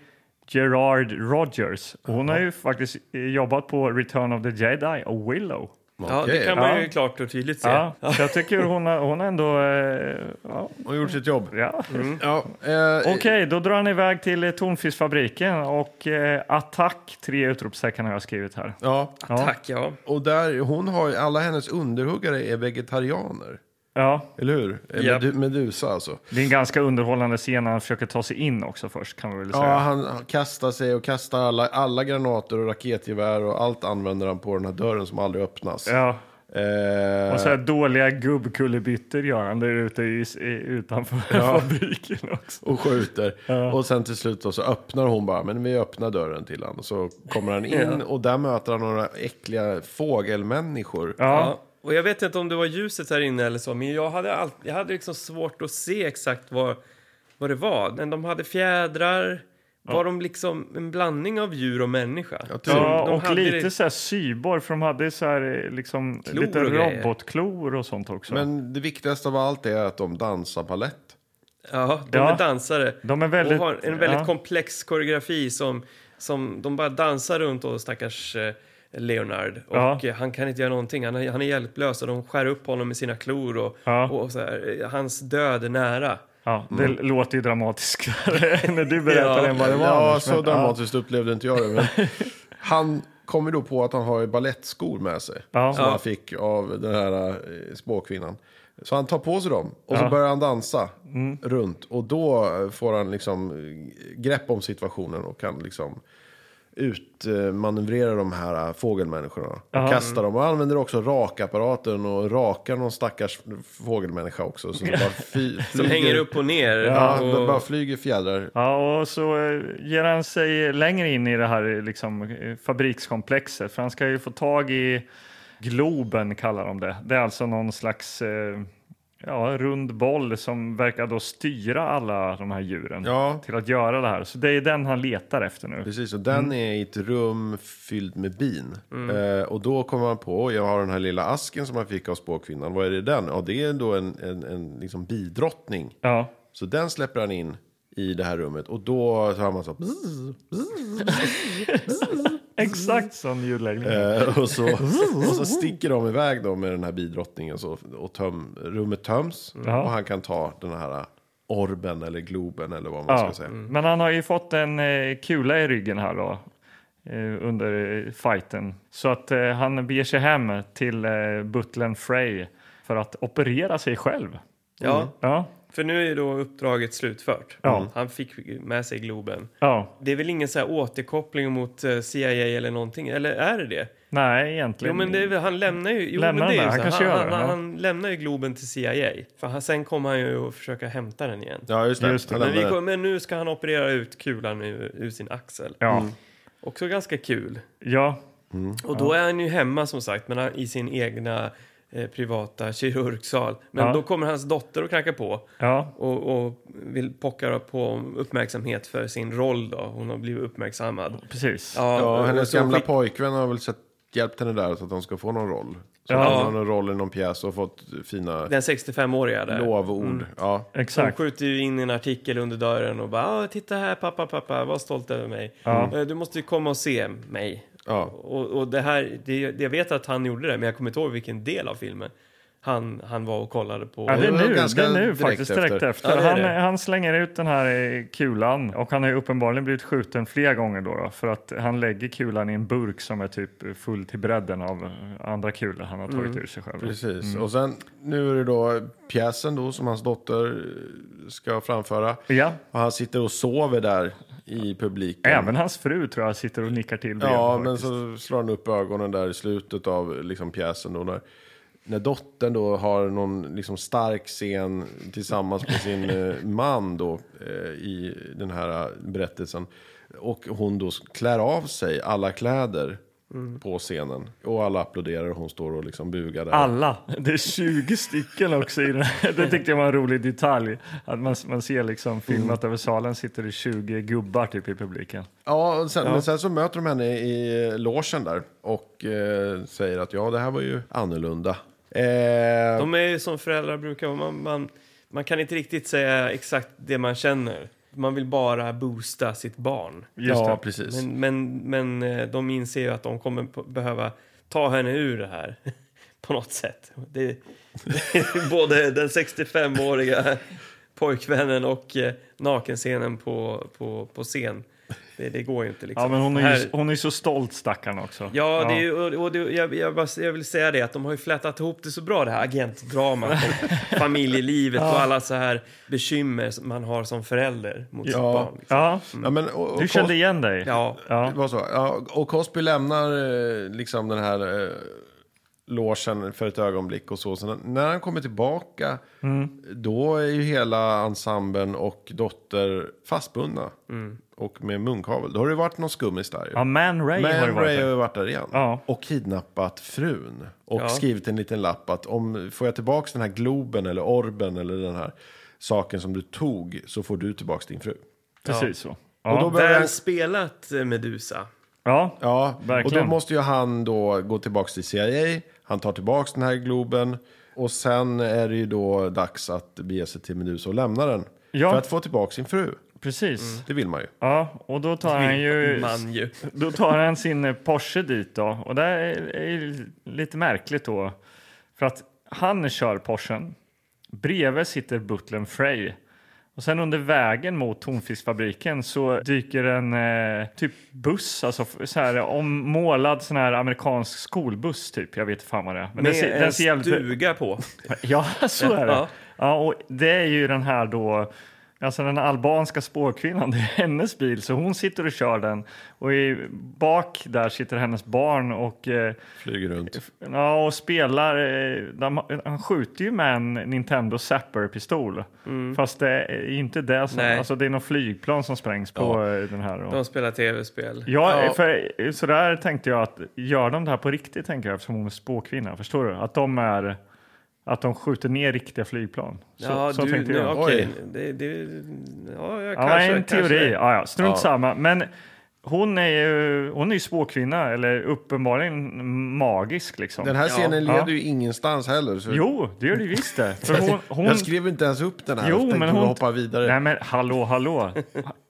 S3: Gerard Rogers. Och Hon har ju faktiskt eh, jobbat på Return of the Jedi och Willow.
S2: Ja,
S1: Okej.
S2: det kan man ju
S3: Ja.
S2: klart och tydligt se.
S3: Ja, så jag tycker hon har, hon har ändå... Eh, ja,
S1: Hon har gjort sitt jobb.
S3: ja.
S1: Ja, eh,
S3: Mm. Okej, då drar han iväg till eh, Tonfiskfabriken och eh, attack, tre utropstecken har jag skrivit här.
S1: ja,
S2: Tack, ja.
S1: och där, hon har, ju- alla hennes underhuggare är vegetarianer.
S3: Ja,
S1: Eller hur? Eh,
S2: Japp.
S1: Medu- Medusa alltså.
S3: Det är en ganska underhållande scen när han försöker ta sig in också först kan man väl säga.
S1: Ja, han han kastar sig och kastar alla, alla granater och raketgevär och allt använder han på den här dörren som aldrig öppnas.
S3: Ja.
S1: Eh,
S3: Och så här dåliga gubbkullerbyttor gör han där ute i, i, utanför fabriken också.
S1: och skjuter. Och sen till slut då så öppnar hon bara, men vi öppnar dörren till honom. Så kommer han in och där möter han några äckliga fågelmänniskor.
S3: Ja,
S2: Ja. Och jag vet inte om det var ljuset här inne eller så, men jag hade, all, jag hade liksom svårt att se exakt vad, vad det var. Men de hade fjädrar. Var de liksom en blandning av djur och människa?
S1: Jag
S3: ja.
S1: tror-
S2: de
S3: och
S2: hade
S3: lite
S2: det-
S3: så här syborg för de hade så här eh, liksom
S2: Klor
S3: lite
S2: och grejer.
S3: robotklor och sånt också.
S1: Men det viktigaste av allt är att de dansar ballett.
S2: Ja, de
S3: Ja.
S2: är dansare.
S3: De är väldigt-
S2: och har en väldigt
S3: ja.
S2: komplex koreografi som, som de bara dansar runt och stackars eh, Leonard. Och
S3: Ja.
S2: eh, han kan inte göra någonting. Han är, han är hjälplös och de skär upp honom med sina klor. Och,
S3: Ja.
S2: och så här, eh, hans död är nära.
S3: ja, det låter ju dramatiskare när du berättar
S2: Mm. Ja.
S3: än vad det var.
S1: ja,
S3: Anders,
S1: så
S3: men-
S1: dramatiskt upplevde inte jag det. Men han kommer då på att han har ju ballettskor med sig.
S3: Ja.
S1: Som
S3: Ja.
S1: han fick av den här eh, spåkvinnan. Så han tar på sig dem och
S3: Ja.
S1: så
S3: Mm.
S1: börjar han dansa runt. Och då eh, får han liksom eh, grepp om situationen och kan liksom utmanövrera de här eh, fågelmänniskorna. Och
S3: Ja.
S1: kasta dem. Och han använder också rakapparaten och rakar någon stackars fågelmänniska också. Som, bara fly,
S2: Som hänger upp och ner.
S1: Ja,
S2: och,
S1: de bara flyger fjädrar.
S3: Ja, och så eh, ger han sig längre in i det här eh, liksom, eh, fabrikskomplexet för han ska ju få tag i Globen kallar de det. Det är alltså någon slags eh, ja, rund boll som verkar då styra alla de här djuren
S1: Ja.
S3: till att göra det här. Så det är den han letar efter nu.
S1: Precis, och
S3: Mm.
S1: den är i ett rum fyllt med bin. Eh, och då kommer man på, jag har den här lilla asken som jag fick av spåkvinnan. Vad är det i den? Ja, det är då en, en, en liksom bidrottning.
S3: Ja.
S1: Så den släpper han in i det här rummet. Och då hör man så här, bzz,
S3: Exakt sån ljudläggning.
S1: eh, och, så, och så sticker de iväg då med den här bidrottningen. Så, och töm, rummet töms.
S3: Ja.
S1: Och han kan ta den här orben eller globen eller vad man
S3: Ja.
S1: ska säga.
S2: Mm.
S3: Men han har ju fått en eh, kula i ryggen här då eh, under eh, fighten. Så att eh, han beger sig hem till eh, butlern Frey för att operera sig själv.
S1: mm.
S2: ja,
S3: Ja,
S2: för nu är då uppdraget slutfört.
S3: Ja.
S2: Han fick med sig Globen.
S3: ja.
S2: Det är väl ingen så här återkoppling mot eh, CIA eller någonting? Eller är det det?
S3: nej egentligen.
S2: Jo, men det, är väl- han lämnar ju... Jo,
S3: Lämnar
S2: men det
S3: han
S2: är
S3: det?
S2: ju
S3: Han
S2: så.
S3: kanske
S2: han,
S3: gör det,
S2: han,
S3: ja.
S2: han lämnar ju Globen till CIA. För han, sen kommer han ju att försöka hämta den igen.
S1: Ja, just det.
S3: Just det.
S1: Han
S2: men, vi,
S1: lämnar-
S2: kom- men nu ska han operera ut kulan ur, ur sin axel.
S3: Ja,
S2: Också ganska kul.
S3: ja.
S2: Och då är han ju hemma som sagt, men han, i sin egna eh, eh, privata kirurgsal. Men
S3: Ja.
S2: då kommer hans dotter och knackar på
S3: Ja,
S2: och, och vill pocka på uppmärksamhet för sin roll då. Hon har blivit uppmärksammad.
S3: precis.
S2: Ja,
S1: Ja,
S2: och
S1: hennes
S2: så
S1: gamla
S2: skick-
S1: pojkvän har väl sett, hjälpt henne där så att hon ska få någon roll. Så
S3: Ja.
S1: hon har någon roll i någon pjäs och fått fina
S2: Den 65-åriga där.
S1: lovord.
S3: Mm.
S1: Ja.
S2: De
S3: Exakt.
S2: skjuter ju in en artikel under dörren och bara "Ah, “Titta här pappa, pappa, var stolt över mig.
S3: Ja.
S2: Eh, Du måste ju komma och se mig.”
S1: Ja.
S2: Och, och det här, det, det- jag vet att han gjorde det, men jag kommer inte ihåg vilken del av filmen han, han var och kollade på.
S3: Ja, det är
S1: Det var
S3: nu,
S1: ganska
S3: det är nu
S1: direkt
S3: faktiskt direkt
S1: efter.
S3: efter.
S2: Ja, det är
S3: han,
S2: det.
S3: han slänger ut den här eh, kulan och han har ju uppenbarligen blivit skjuten flera gånger då, då för att han lägger kulan i en burk som är typ full till bredden av eh, andra kulor han har
S2: Mm.
S3: tagit ur sig själv.
S1: Precis.
S3: Mm.
S1: Och sen nu är det då pjäsen då som hans dotter eh, ska framföra.
S3: Ja.
S1: Och han sitter och sover där i publiken.
S3: Även hans fru tror jag sitter och nickar till.
S1: Ja,
S3: bredvid
S1: men
S3: faktiskt.
S1: så slår han upp ögonen där i slutet av liksom, pjäsen. Då, när, när dottern då har någon liksom, stark scen tillsammans med sin eh, man då, eh, i den här eh, berättelsen. Och hon då klär av sig alla kläder
S3: Mm.
S1: på scenen. Och alla applåderar och hon står och liksom bugar där.
S3: Alla. Det är 20 stycken också. I den. här. Det tyckte jag var en rolig detalj. Att man, man ser liksom
S1: Mm.
S3: filmat över salen sitter det 20 gubbar typ i publiken.
S1: Ja, och sen, men sen så möter de henne i logen där och eh, säger att ja, det här var ju annorlunda. Eh,
S2: De är ju som föräldrar brukar vara. man, man, man kan inte riktigt säga exakt det man känner. Man vill bara boosta sitt barn.
S3: Just
S1: ja,
S3: det.
S1: precis.
S2: Men, men, men eh, de inser ju att de kommer p- behöva ta henne ur det här på något sätt. Det, det är både den 65-åriga pojkvännen och eh, nakenscenen på, på, på scen. Det, det går ju inte. Liksom.
S3: Ja, men hon är,
S2: Här-
S3: ju, hon är så stolt stackarn också.
S2: Ja, det är, ju- och, och det, jag, jag, bara, jag vill säga det att de har ju flätat ihop det så bra det här agentdramat och familjelivet och alla så här bekymmer som man har som förälder mot sitt
S1: Ja.
S2: barn. Liksom.
S3: Ja,
S1: ja, men, och, och
S3: du kände igen dig?
S2: Ja,
S1: Det var så. Ja, och Cosby lämnar eh, liksom den här eh, logen för ett ögonblick och så. Sen när han kommer tillbaka
S3: Mm.
S1: då är ju hela ensemblen och dotter fastbundna. Och med munkavel. Då har det varit någon skummis där ju.
S3: Mm. Ja, Man Ray har ju
S1: Men
S3: varit
S1: Ray har
S3: där.
S1: ju varit där igen.
S3: Ja.
S1: Och kidnappat frun. Och
S2: Ja.
S1: skrivit en liten lapp att om får jag tillbaka den här globen eller orben eller den här saken som du tog så får du tillbaka din fru.
S3: Precis så.
S1: Och då
S3: Ja,
S1: börjar
S2: väl
S1: han-
S2: spelat eh, Medusa.
S3: ja.
S1: Ja, och
S3: Verkligen.
S1: då måste ju han då gå tillbaka till CIA. Han tar tillbaka den här globen. Och sen är det ju då dags att bege sig till Medusa och lämna den.
S3: Ja.
S1: För att få tillbaka sin fru.
S3: precis.
S1: Det vill man ju.
S3: Ja, och då tar han ju...
S2: Man ju.
S3: Då tar han sin eh, Porsche dit då. Och det är är ju lite märkligt då. För att han kör Porschen. Bredvid sitter butlern Frey. Och sen under vägen mot tonfiskfabriken så dyker en eh, typ buss, alltså f- så här ommålad sån här amerikansk skolbuss typ. Jag vet fan vad det är.
S2: Med
S3: Men den ser- den
S2: en
S3: ser jävligt-
S2: stuga på.
S3: Ja, så är
S2: Ja.
S3: det. Ja, och det är ju den här då, alltså den albanska spårkvinnan, det är hennes bil så hon sitter och kör den och i bak där sitter hennes barn och, eh,
S1: Flyger runt.
S3: ja, och spelar, eh, de, han skjuter ju med en Nintendo Zapper-pistol. Fast det är inte det som,
S2: Mm. Nej.
S3: alltså det är något flygplan som sprängs på eh, den här. Då.
S2: De spelar tv-spel.
S3: Ja, för så där tänkte jag att gör de det här på riktigt tänker jag eftersom hon är spåkvinna, förstår du? Att de är att de skjuter ner riktiga flygplan. Så,
S2: ja,
S3: så
S2: du,
S3: tänkte
S2: nu,
S3: jag.
S2: okej.
S1: Oj.
S2: Det, det, ja, jag
S3: Ja,
S2: kanske,
S3: en
S2: kanske.
S3: teori. Ja, ja, strunt samma. Men hon är ju hon är ju spåkvinna eller uppenbarligen magisk liksom.
S1: Den här scenen leder
S3: Ja.
S1: ju ingenstans heller. Så
S3: Jo, det gör det visst det. För hon, hon...
S1: Jag skrev inte ens upp den här.
S3: Jo,
S1: jag tänkte
S3: men
S1: bara
S3: hon...
S1: hoppa vidare.
S3: Nej, men hallå, hallå.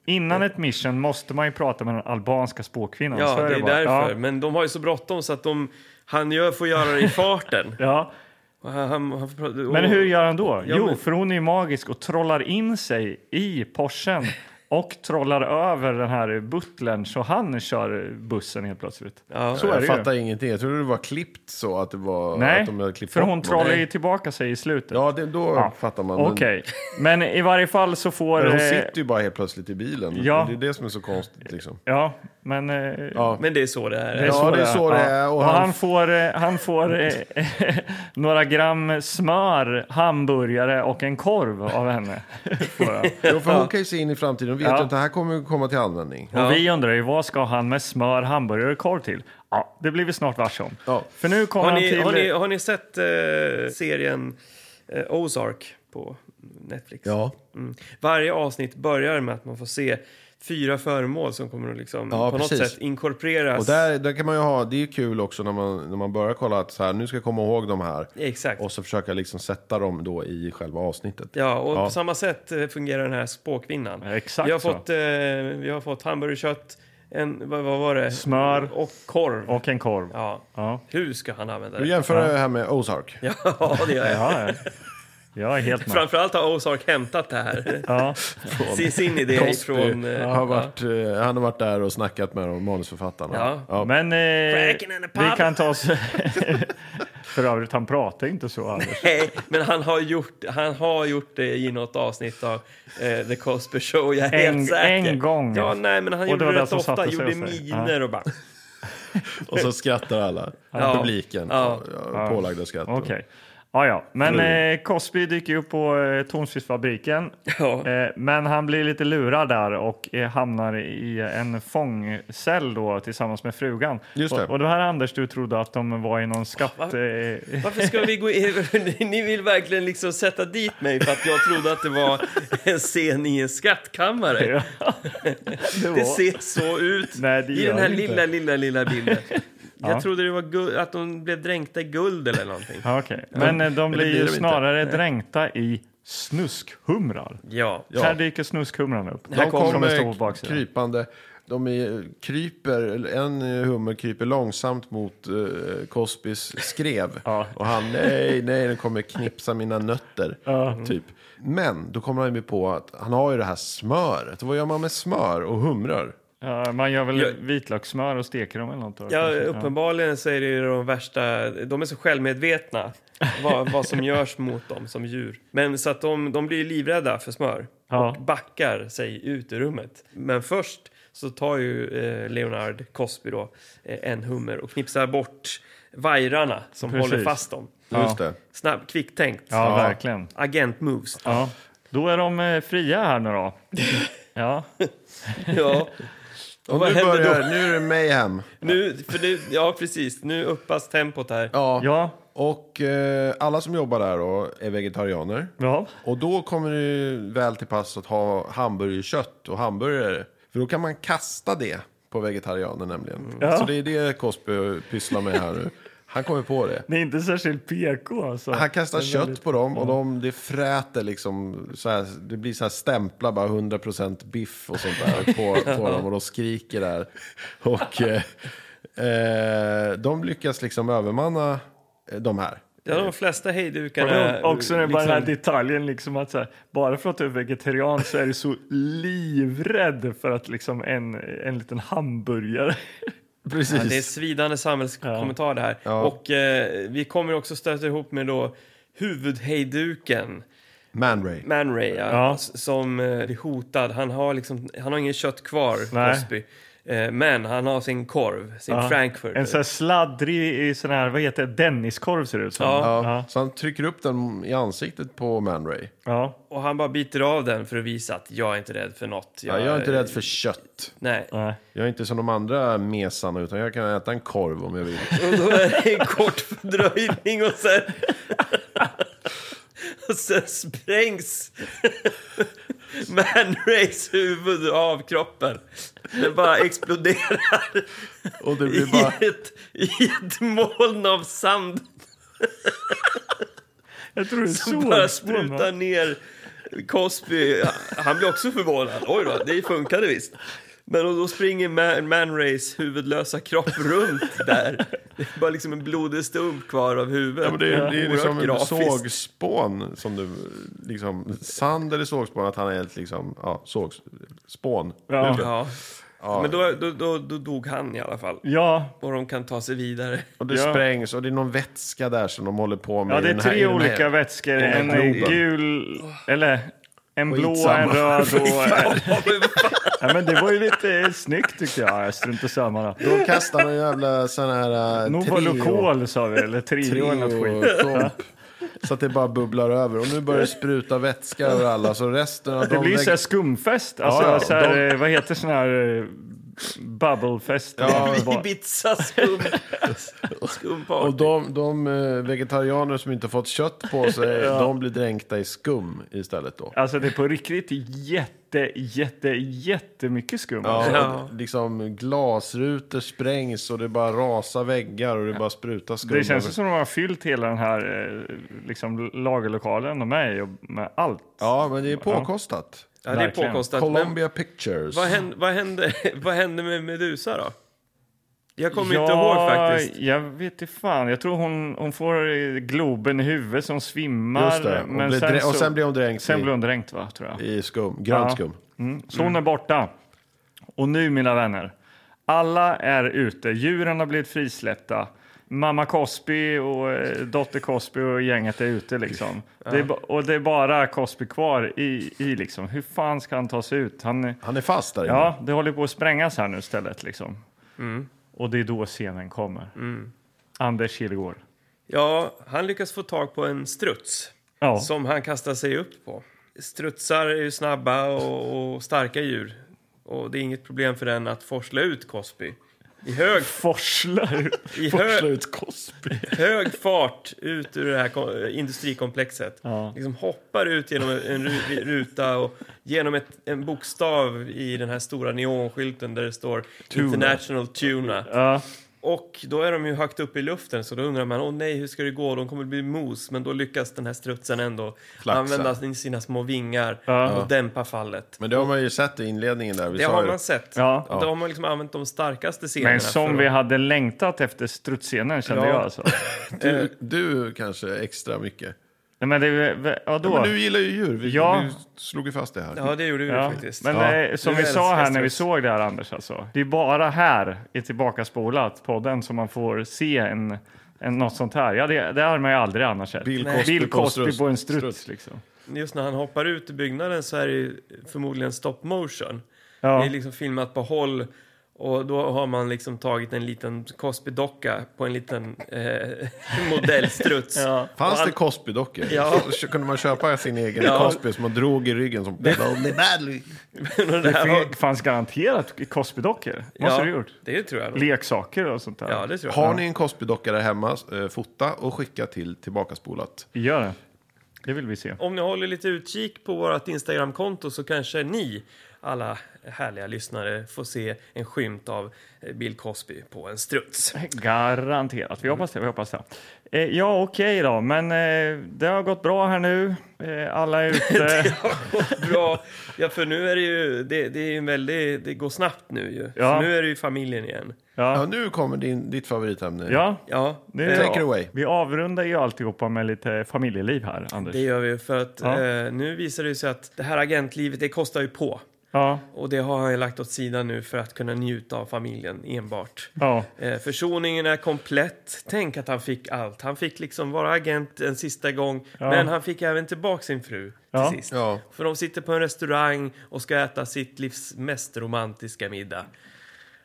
S3: Innan ett mission måste man ju prata med den albanska spåkvinnan.
S2: Ja,
S3: så
S2: det är
S3: bara. Ja.
S2: därför. Men de har ju så bråttom så att de, han gör, får göra det i farten.
S3: Ja,
S2: Och han, han, han, får prata- och-
S3: Men hur gör han då?
S2: Ja,
S3: jo,
S2: men-
S3: för hon är ju magisk och trollar in sig i Porschen och trollar över den här butlern så han kör bussen helt plötsligt.
S2: Ja.
S3: Så är
S1: jag
S3: det ju.
S1: fattar ingenting. Jag trodde det var klippt så att det var... att
S3: Nej,
S1: de hade klippt
S3: för
S1: bort
S3: hon
S1: någon.
S3: trollar ju tillbaka sig i slutet.
S1: Ja, det, då fattar man. Men-
S3: Okej, men i varje fall så får...
S1: Men hon
S3: eh,
S1: sitter ju bara helt plötsligt i bilen.
S3: Ja.
S1: Det är det som är så konstigt liksom.
S3: Ja, Men, eh,
S1: Ja.
S2: Men det är så det här är.
S3: det är så
S1: det är så det är,
S3: Ja.
S1: och
S3: Och
S1: han-
S3: han får, eh, han får eh, några gram smör, hamburgare och en korv av henne. Får han.
S1: Jo, för hon kan ju se in i framtiden och vet
S3: Ja.
S1: att det här kommer ju komma till användning.
S3: Och vi undrar ju vad ska han med smör, hamburgare och korv till? Ja, det blir vi snart varse om.
S1: Ja.
S3: För nu kommer
S2: Har
S3: han
S2: ni,
S3: till...
S2: har, ni, har ni sett eh, serien eh, Ozark på Netflix?
S1: Ja.
S2: Mm. Varje avsnitt börjar med att man får se fyra föremål som kommer att liksom
S1: Ja,
S2: på något
S1: precis.
S2: sätt inkorporeras.
S1: Och där, där kan man ju ha, det är ju kul också när man, när man börjar kolla att så här, nu ska jag komma ihåg de här.
S2: Exakt.
S1: Och så försöka liksom sätta dem då i själva avsnittet.
S2: Ja, och
S1: Ja.
S2: på samma sätt eh, fungerar den här spåkvinnan.
S3: Exakt
S2: vi, har
S3: så.
S2: fått, eh, vi har fått hamburgerkött, en, vad, vad var det?
S3: Smör.
S2: Och korv.
S3: Och en korv.
S2: Ja.
S3: Ja.
S2: Hur ska han använda
S1: Du
S2: det?
S1: jämför det här med Ozark.
S2: Ja, det gör jag.
S3: Ja, ja. Jag är helt med.
S2: Framförallt har Ozark hämtat det här.
S3: Ja.
S2: Sin- Sin idé från... eh,
S1: har varit, eh, han har varit där och snackat med de manusförfattarna.
S2: Ja.
S3: Men eh,
S2: Cracking in a pub.
S3: vi kan ta oss... För övrigt, han pratar ju inte så Anders.
S2: Nej, men han har, gjort, han har gjort det i något avsnitt av eh, The Cosby Show, jag är
S3: En-
S2: helt säker.
S3: en gång.
S2: Ja, nej, men han
S3: Och det
S2: gjorde
S3: var
S2: det
S3: det
S2: rätt
S3: som
S2: ofta,
S3: satte sig
S2: gjorde
S3: hos dig.
S2: miner och bara...
S1: Och så skrattar alla.
S2: Ja.
S1: Publiken.
S2: Ja.
S1: Ja. Pålagda skratt.
S3: Okej. Ja, ja. Men
S2: Mm.
S3: eh, Cosby dyker ju upp på eh, Tornfisfabriken.
S2: Ja.
S3: Eh, men han blir lite lurad där och eh, hamnar i en fångcell då tillsammans med frugan.
S1: Just det.
S3: Och, och det här Anders, du trodde att de var i någon skatt...
S2: Va?
S3: eh,
S2: Varför ska vi gå in? Ni vill verkligen liksom sätta dit mig för att jag trodde att det var en scen i en skattkammare. Det ser så ut
S3: Nej, det
S2: i
S3: gör
S2: den här
S3: det
S2: lilla,
S3: inte.
S2: lilla, lilla bilden. Jag
S3: Ja.
S2: trodde det var gu- att de blev dränkta i guld eller någonting.
S3: Ja, Okej. Men eh, de blir
S1: blir de
S3: ju
S1: inte.
S3: snarare dränkta i snuskhumrar.
S2: Ja.
S1: Ja.
S3: Här dyker snuskhumran upp.
S1: De
S3: Här kommer de en stor
S1: kommer
S3: baksida.
S1: krypande. De är, kryper, eller en hummer kryper långsamt mot eh, Cosbys skrev.
S3: Ja.
S1: Och han, nej, nej, den kommer knipsa mina nötter. Typ. Men då kommer han ju på att han har ju det här smöret. Vad gör man med smör och humrar?
S3: Ja, man gör väl
S2: Jag-
S3: vitlökssmör och steker dem eller något? då,
S2: Ja,
S3: kanske.
S2: uppenbarligen så är det ju de värsta... De är så självmedvetna vad, vad som görs mot dem som djur. Men så att de, de blir ju livrädda för smör
S3: Ja.
S2: och backar sig ut ur rummet. Men först så tar ju eh, Leonard Cosby då eh, en hummer och knipsar bort vajrarna som
S3: Precis.
S2: håller fast dem.
S1: Just det.
S2: Snabb, kvicktänkt.
S3: Ja, verkligen.
S2: Agent moves.
S3: Ja. Då är de eh, fria här nu då. Ja,
S2: Ja. Och vad
S1: nu,
S2: händer
S1: börjar,
S2: då?
S1: nu är det mayhem.
S2: Nu, för nu, ja, precis. Nu uppas tempot här.
S1: Ja.
S3: ja,
S1: Och eh, alla som jobbar där då är vegetarianer.
S3: ja.
S1: Och då kommer det ju väl till pass att ha hamburgerkött och hamburgare. För då kan man kasta det på vegetarianer nämligen. Så det är det Cosby pysslar med här nu. Han kommer på det.
S3: Det är inte särskilt PK alltså.
S1: Han kastar kött på dem och de, det fräter liksom. Så här, det blir så här stämplar bara 100% biff och sånt där på, på dem. Och de skriker där. Och eh, eh, de lyckas liksom övermanna eh, de här.
S2: Ja, de flesta hejdukarna...
S3: Och också den bara den här
S2: liksom-
S3: detaljen liksom att så här, bara för att du är vegetarian så är du så livrädd för att liksom en, en liten hamburgare.
S1: Precis.
S2: Det är svidande samhällskommentar det här. Och eh, vi kommer också stöta ihop med då huvudhejduken
S1: Man Ray.
S2: Man Ray, ja,
S3: Ja.
S2: s- som eh, blir hotad. Han har liksom, han har inget kött kvar,
S3: Nej.
S2: Cosby. Eh, men han har sin korv, sin
S3: Ja.
S2: Frankfurt.
S3: En sån här sladdrig i sån här, vad heter det, Denniskorv ser det ut som.
S2: ja,
S1: Ja. Så han trycker upp den i ansiktet på Man Ray.
S3: ja.
S2: och han bara biter av den för att visa att jag är inte rädd för något. Eh,
S1: Ja, jag är inte rädd för kött.
S2: Nej.
S3: Nej.
S1: Jag är inte som de andra mesarna, utan jag kan äta en korv om jag vill.
S2: Och då är det en kort fördröjning och sen... och sen sprängs Man Rays huvud av kroppen. Det bara exploderar
S1: Och det
S2: i
S1: blir bara...
S2: ett, i ett moln av sand
S3: Jag tror det är
S2: som bara
S3: sårspån, va?
S2: sprutar ner Cosby. Han blir också förvånad. Oj då, det funkade visst. Men och då springer Man, Man Rays huvudlösa kropp runt där. Det är bara liksom en blodig stump kvar av huvudet.
S1: Ja, men det, är, det är
S2: Oerhört
S1: liksom en
S2: grafiskt.
S1: sågspån som du... Liksom, sand eller sågspån, att han är ett liksom... Ja, sågspån.
S3: Ja.
S2: Ja. Men då, då, då, då dog han i alla fall.
S3: Ja,
S2: Och de kan ta sig vidare.
S1: Och det
S3: Ja.
S1: sprängs och det är någon vätska där som de håller på med.
S3: Ja,
S1: i
S3: det är
S1: den här- i
S3: tre
S1: den här-
S3: olika vätskor.
S1: den här
S3: En
S1: globen.
S3: gul, eller En blå,
S8: Skitsamma.
S3: en röd och... Ja, men det var ju lite eh, snyggt tyckte jag. Jag struntar samma då.
S1: De kastar någon jävla sån här eh, trio,
S3: Novolocol sa vi, eller trio,
S1: trio
S3: eller något skit.
S1: och komp. Så att det bara bubblar över. Och nu börjar det spruta vätska över alla. Så resten av
S3: Det
S1: de
S3: blir ju
S1: lägger-
S3: så här skumfest. Alltså,
S1: Ja, ja,
S3: så här, eh, Vad heter sån här... eh, Bubblefest.
S1: Ja,
S3: Bara-
S2: Ibiza skum.
S1: Och
S2: Skumparty.
S1: de, de eh, vegetarianer som inte fått kött på sig, de blir dränkta i skum istället då.
S3: Alltså det är på riktigt jätte, jätte, jättemycket skum.
S1: Ja,
S2: Ja.
S1: och Liksom glasrutor sprängs och det bara rasar väggar och det bara sprutar skum.
S3: Det känns ju
S1: över-
S3: som de har fyllt hela den här eh, liksom, lagerlokalen de är i och med allt.
S1: Ja, men det är påkostat.
S2: Ja, det är
S3: Verkligen.
S2: påkostat. Men
S1: Columbia Pictures.
S2: vad hände, vad, hände, vad hände med Medusa då? Jag kommer
S3: ja,
S2: inte ihåg faktiskt.
S3: Jag vet inte fan. Jag tror hon, hon får eh, Globen i huvudet som svimmar.
S1: Just det. Hon blir drä- och sen blir hon dränkt
S3: Sen
S1: i-
S3: blir hon dränkt va, tror jag.
S1: I skum. Grönt
S3: Ja.
S1: skum.
S3: Mm. Så hon är borta. Och nu, mina vänner, alla är ute. Djuren har blivit frisläppta. Mamma Cosby och eh, dotter Cosby och gänget är ute. Liksom. Det är, ba- och det är bara Cosby kvar i, i liksom. Hur fan ska han ta sig ut? Han, är-
S1: Han är fast där inne.
S3: ja, det håller på att sprängas här nu istället. Liksom.
S2: Mm.
S3: Och det är då scenen kommer. Anders Kihlgård.
S2: Ja, han lyckas få tag på en struts
S3: Ja.
S2: som han kastar sig upp på. Strutsar är ju snabba och, och starka djur. Och det är inget problem för den att forsla ut Cosby. I hög,
S3: Forslar,
S2: I
S3: forslar
S2: hö-
S3: ut Cosby.
S2: hög fart ut ur det här ko- eh, industrikomplexet.
S3: Ja.
S2: Liksom hoppar ut genom en- en ru- ruta och genom ett, en bokstav i den här stora neonskylten där det står International Tuna.
S3: Ja.
S2: Och då är de ju högt upp i luften så då undrar man, åh nej, hur ska det gå? De kommer bli mos. Men då lyckas den här strutsen ändå
S1: Flaxa.
S2: använda sin- sina små vingar
S3: Ja.
S2: och dämpa fallet.
S1: Men det har man ju sett i inledningen där. Vi
S2: Det
S1: sa
S2: har
S1: ju-
S2: man sett.
S3: Ja.
S2: Då har man liksom använt de starkaste scenerna.
S3: Men som
S2: för
S3: vi
S2: att-
S3: hade längtat efter strutsscenen kände
S2: Ja.
S3: jag alltså.
S1: du, du kanske extra mycket.
S3: Nej, men det, är väl- vadå?
S1: Men du gillar ju djur. Vi,
S3: Ja.
S1: vi slog ju fast det här.
S2: Ja, det gjorde vi
S3: Ja.
S2: faktiskt.
S3: Men
S1: Ja.
S3: eh, som
S2: Du
S3: vi sa här
S2: älskar
S3: när vi
S2: struts.
S3: såg det här Anders alltså. Det är bara här i Tillbakaspolat podden som man får se en, en, något sånt här. Ja, det, det har man ju aldrig annars sett.
S1: Bill Cosby
S3: Bill
S1: på en
S3: Cosby
S1: struts.
S3: på en struts,
S1: Struts.
S3: liksom.
S2: Just när han hoppar ut ur byggnaden så är det ju förmodligen stop motion.
S3: Ja.
S2: Det är liksom filmat på håll och då har man liksom tagit en liten Cosby-docka på en liten eh, modellstruts.
S3: Ja.
S1: Fanns det Cosby-dockor?
S2: Ja.
S1: Så Kunde man köpa sin egen
S2: Ja.
S1: Cosby som man drog i ryggen? Som...
S2: Och
S3: Det
S2: där har-
S3: fin- fanns garanterat Cosby-dockor. Måste
S2: Ja,
S3: du ha gjort.
S2: Det tror jag. nog.
S3: Leksaker och sånt där.
S2: Ja, det tror jag.
S1: Har ni en Cosby-docka där hemma, eh, fota och skicka till Tillbakaspolat.
S3: Vi gör det. Det vill vi se.
S2: Om ni håller lite utkik på vårt Instagramkonto så kanske ni, alla härliga lyssnare, får se en skymt av eh, Bill Cosby på en struts.
S3: Garanterat. Vi hoppas det. Vi hoppas det. Eh, ja, okej då. Men eh, det har gått bra här nu. Eh, alla är ute.
S2: Bra! Ja, för nu är det ju... Det, det, är ju en väldig, det går snabbt nu ju.
S3: Ja.
S2: För nu är det ju familjen igen.
S1: Ja,
S3: ja.
S1: nu kommer din, ditt favoritämne.
S3: ja.
S2: Ja,
S3: Nu,
S1: Take it away.
S3: Vi avrundar ju alltihopa med lite familjeliv här, Anders.
S2: det gör vi ju för att
S3: Ja.
S2: eh, nu visar det ju sig att det här agentlivet, det kostar ju på.
S3: Ja,
S2: Och det har han ju lagt åt sidan nu för att kunna njuta av familjen enbart.
S3: ja.
S2: Eh, Försoningen är komplett. Tänk att han fick allt. Han fick liksom vara agent en sista gång, men han fick även tillbaka sin fru till
S3: Ja.
S2: sist.
S1: Ja.
S2: För de sitter på en restaurang och ska äta sitt livs mest romantiska middag.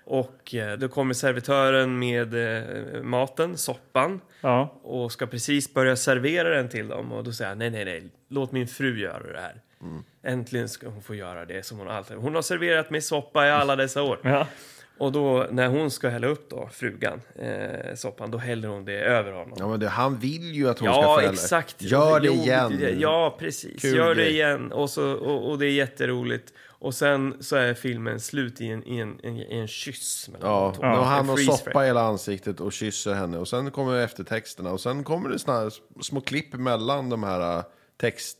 S2: Och eh, då kommer servitören med eh, maten, soppan,
S3: ja.
S2: och ska precis börja servera den till dem. Och då säger han nej, nej, nej, låt min fru göra det här.
S1: Mm.
S2: Äntligen ska hon få göra det som hon alltid... Hon har serverat mig soppa i alla dessa år.
S3: ja.
S2: Och då när hon ska hälla upp då, frugan, eh, soppan, då häller hon det över honom.
S1: Ja, men det, han vill ju att hon ska
S2: Ja,
S1: föräldra.
S2: exakt.
S1: Gör det
S2: Jo,
S1: igen.
S2: Ja, precis.
S1: Kul
S2: Gör det
S1: grej.
S2: igen. Och, så, och, och det är jätteroligt. Och sen så är filmen slut i en, i en, en, i en kyss. mellan
S1: Ja,
S2: de två.
S1: ja.
S2: En
S1: han har
S2: freeze
S1: soppa i hela ansiktet och kysser henne. Och sen kommer eftertexterna. Och sen kommer det såna här små klipp mellan de här eh,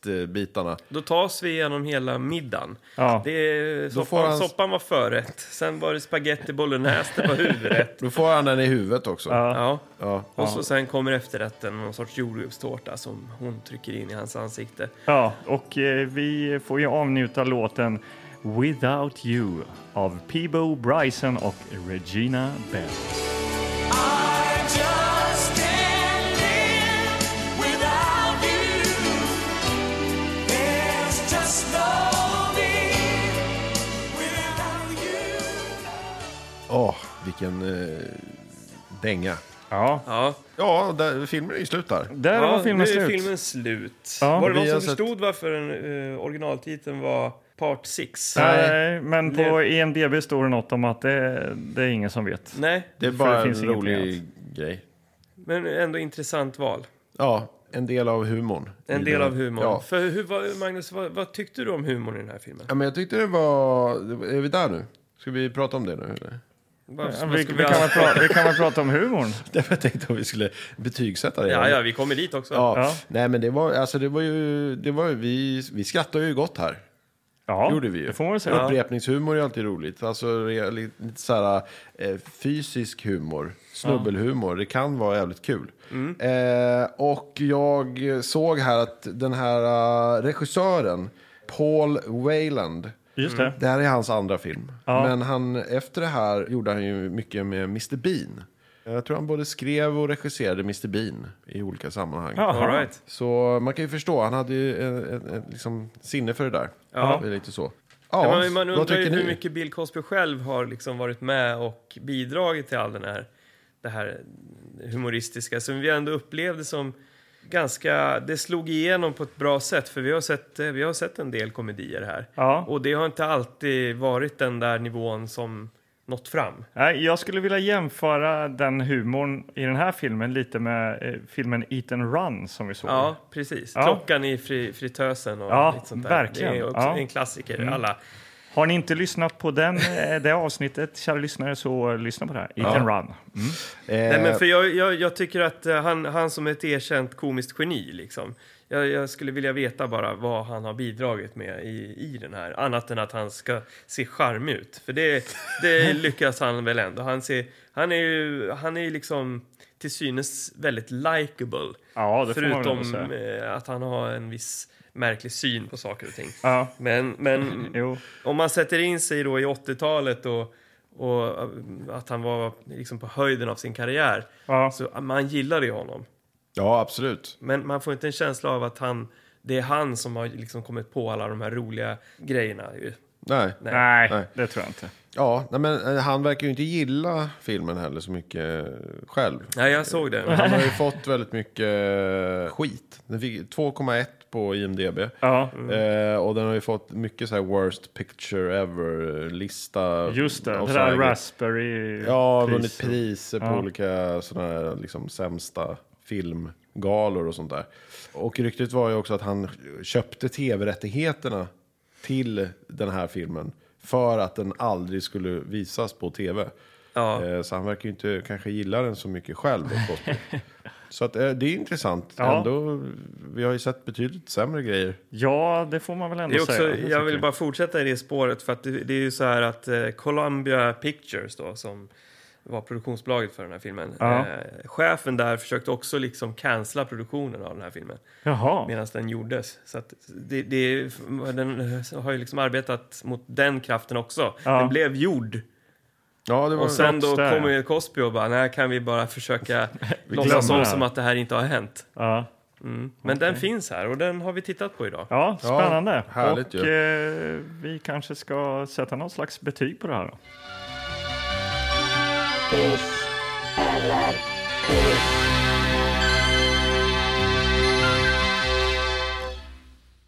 S1: textbitarna.
S2: Då tas vi igenom hela middagen.
S3: Ja.
S2: Det är,
S1: får
S2: soppan,
S1: han-
S2: soppan var förrätt, sen var det spaghetti bolognese, det var huvudrätt.
S1: Då får han den i huvudet också.
S2: Ja.
S1: Ja.
S2: Och så sen kommer efterrätten, någon sorts jordgubbstårta som hon trycker in i hans ansikte.
S3: ja. Och eh, vi får ju avnjuta låten Without You av Peebo Bryson och Regina Bell.
S9: Without you, there's just no
S1: vilken eh, dänga.
S3: Ja,
S2: Ja,
S1: Ja, där, filmen är ju slut där.
S3: där
S2: ja,
S3: var filmen
S2: nu är
S3: slut.
S2: filmen slut.
S3: Ja,
S2: var det någon
S1: vi
S2: som
S1: har sett-
S2: förstod varför den, eh, originaltiteln var Part 6?
S3: Nej, men på E
S2: Det-
S3: IMDB står det något om att det, det är ingen som vet.
S2: Nej,
S1: Det är
S3: För
S1: bara
S3: det finns
S1: en
S3: ingenting
S1: rolig grej.
S2: men ändå intressant val.
S1: Ja, en del av humorn.
S2: En
S1: i
S2: del
S1: den.
S2: av humorn.
S1: Mm. Ja.
S2: För hur, vad, Magnus, vad, vad tyckte du om humorn i den här filmen?
S1: ja, men jag tyckte det var... Är vi där nu? Ska vi prata om det nu? Eller?
S2: Vad,
S3: Ja,
S2: vad
S3: Vi,
S2: skulle
S3: vi, kan
S2: ha-
S3: väl prata, vi kan väl prata om humorn?
S1: Jag tänkte om vi skulle betygsätta det.
S2: Ja, ja, vi kommer dit också.
S1: Ja.
S3: Ja.
S1: Nej, men det var, alltså, det var ju... Det var ju vi, vi skrattade ju gott här.
S3: Ja,
S1: gjorde vi ju.
S3: det får man väl säga.
S1: Upprepningshumor är alltid roligt. Alltså re- lite så här, eh, fysisk humor, snubbelhumor. Det kan vara jävligt kul.
S3: Mm.
S1: Eh, och jag såg här att den här eh, regissören, Paul Wayland,
S3: Just det.
S1: det här är hans andra film.
S3: Ja.
S1: Men han, efter det här gjorde han ju mycket med Mr Bean. Jag tror han både skrev och regisserade Mr Bean i olika sammanhang.
S3: Jaha.
S2: All right.
S1: Så man kan ju förstå, han hade ju en, en, en, liksom sinne för det där.
S2: Ja.
S1: Det är lite så. Ja,
S2: Ja, man, man
S1: vad
S2: undrar ju
S1: tycker ni?
S2: hur mycket Bill Cosby själv har liksom varit med och bidragit till all den här, det här humoristiska som vi ändå upplevde som ganska, det slog igenom på ett bra sätt för vi har sett, eh, vi har sett en del komedier här.
S3: Ja.
S2: Och det har inte alltid varit den där nivån som nått fram.
S3: Nej, jag skulle vilja jämföra den humorn i den här filmen lite med eh, filmen Eat and Run som vi såg.
S2: Ja, precis.
S3: Ja.
S2: Klockan i fri, fritösen och
S3: Ja,
S2: lite sånt där.
S3: verkligen.
S2: Det är också
S3: Ja. Mm.
S2: en klassiker. Alla.
S3: Har ni inte lyssnat på den, eh, det avsnittet, kära lyssnare, så eh, lyssna på det här. Eat and Run.
S1: Eh,
S2: Nej,
S3: Eh,
S2: men för jag, jag, jag tycker att eh, han, han som är ett erkänt komiskt geni, liksom, jag, jag skulle vilja veta bara vad han har bidragit med i, i den här. Annat än att han ska se charmig ut. För det, det lyckas han väl ändå. Han, ser, han är ju han är ju liksom till synes väldigt likable.
S3: Ja, det får man väl
S2: Förutom
S3: ändå
S2: eh, att han har en viss märklig syn på saker och ting.
S3: Ja.
S2: Men, men
S3: Jo.
S2: om man sätter in sig då i 80-talet och, och att han var liksom på höjden av sin karriär.
S3: Ja.
S2: Så man gillade ju honom.
S1: Ja, absolut.
S2: Men man får inte en känsla av att han, det är han som har liksom kommit på alla de här roliga grejerna. ju.
S1: Nej.
S3: Nej,
S1: Nej.
S3: det tror jag inte.
S1: Ja, nej, men eh, han verkar ju inte gilla filmen heller så mycket eh, själv.
S2: Nej, jag såg det.
S1: Han har ju fått väldigt mycket eh, skit. Den fick 2,1 på IMDB.
S3: Ja,
S1: Eh, och den har ju fått mycket så här worst picture ever-lista.
S3: just det.
S1: Och
S3: Det
S1: så
S3: där
S1: här-
S3: Raspberry...
S1: Ja,
S3: priset.
S1: vunnit priser på olika sådana här liksom sämsta filmgalor och sånt där. Och ryktet var ju också att han köpte tv-rättigheterna till den här filmen för att den aldrig skulle visas på tv.
S2: Ja.
S1: Eh, Så han verkar ju inte kanske gilla den så mycket själv. och så. Så att, eh, det är intressant.
S3: Ja.
S1: Ändå, vi har ju sett betydligt sämre grejer.
S3: Ja, det får man väl ändå
S2: Det är också,
S3: säga.
S2: jag vill bara fortsätta i det spåret för att det, det är ju så här att eh, Columbia Pictures då som var produktionsbolaget för den här filmen.
S3: Ja.
S2: Eh, chefen där försökte också liksom cancella produktionen av den här filmen.
S3: Jaha.
S2: medan den gjordes. Så att det, det, den har ju liksom arbetat mot den kraften också.
S3: Ja.
S2: Den blev gjord.
S1: Ja, det var...
S2: Och sen då
S3: Trots det.
S2: kommer ju Cosby och bara, nej kan vi bara försöka låtsas
S3: glömmer
S2: om
S3: det här."
S2: som att det här inte har hänt. Mm.
S3: Ja.
S2: Men den finns här och den har vi tittat på idag.
S3: Ja, spännande.
S1: härligt
S3: och
S1: ju.
S3: eh, vi kanske ska sätta någon slags betyg på det här. Då.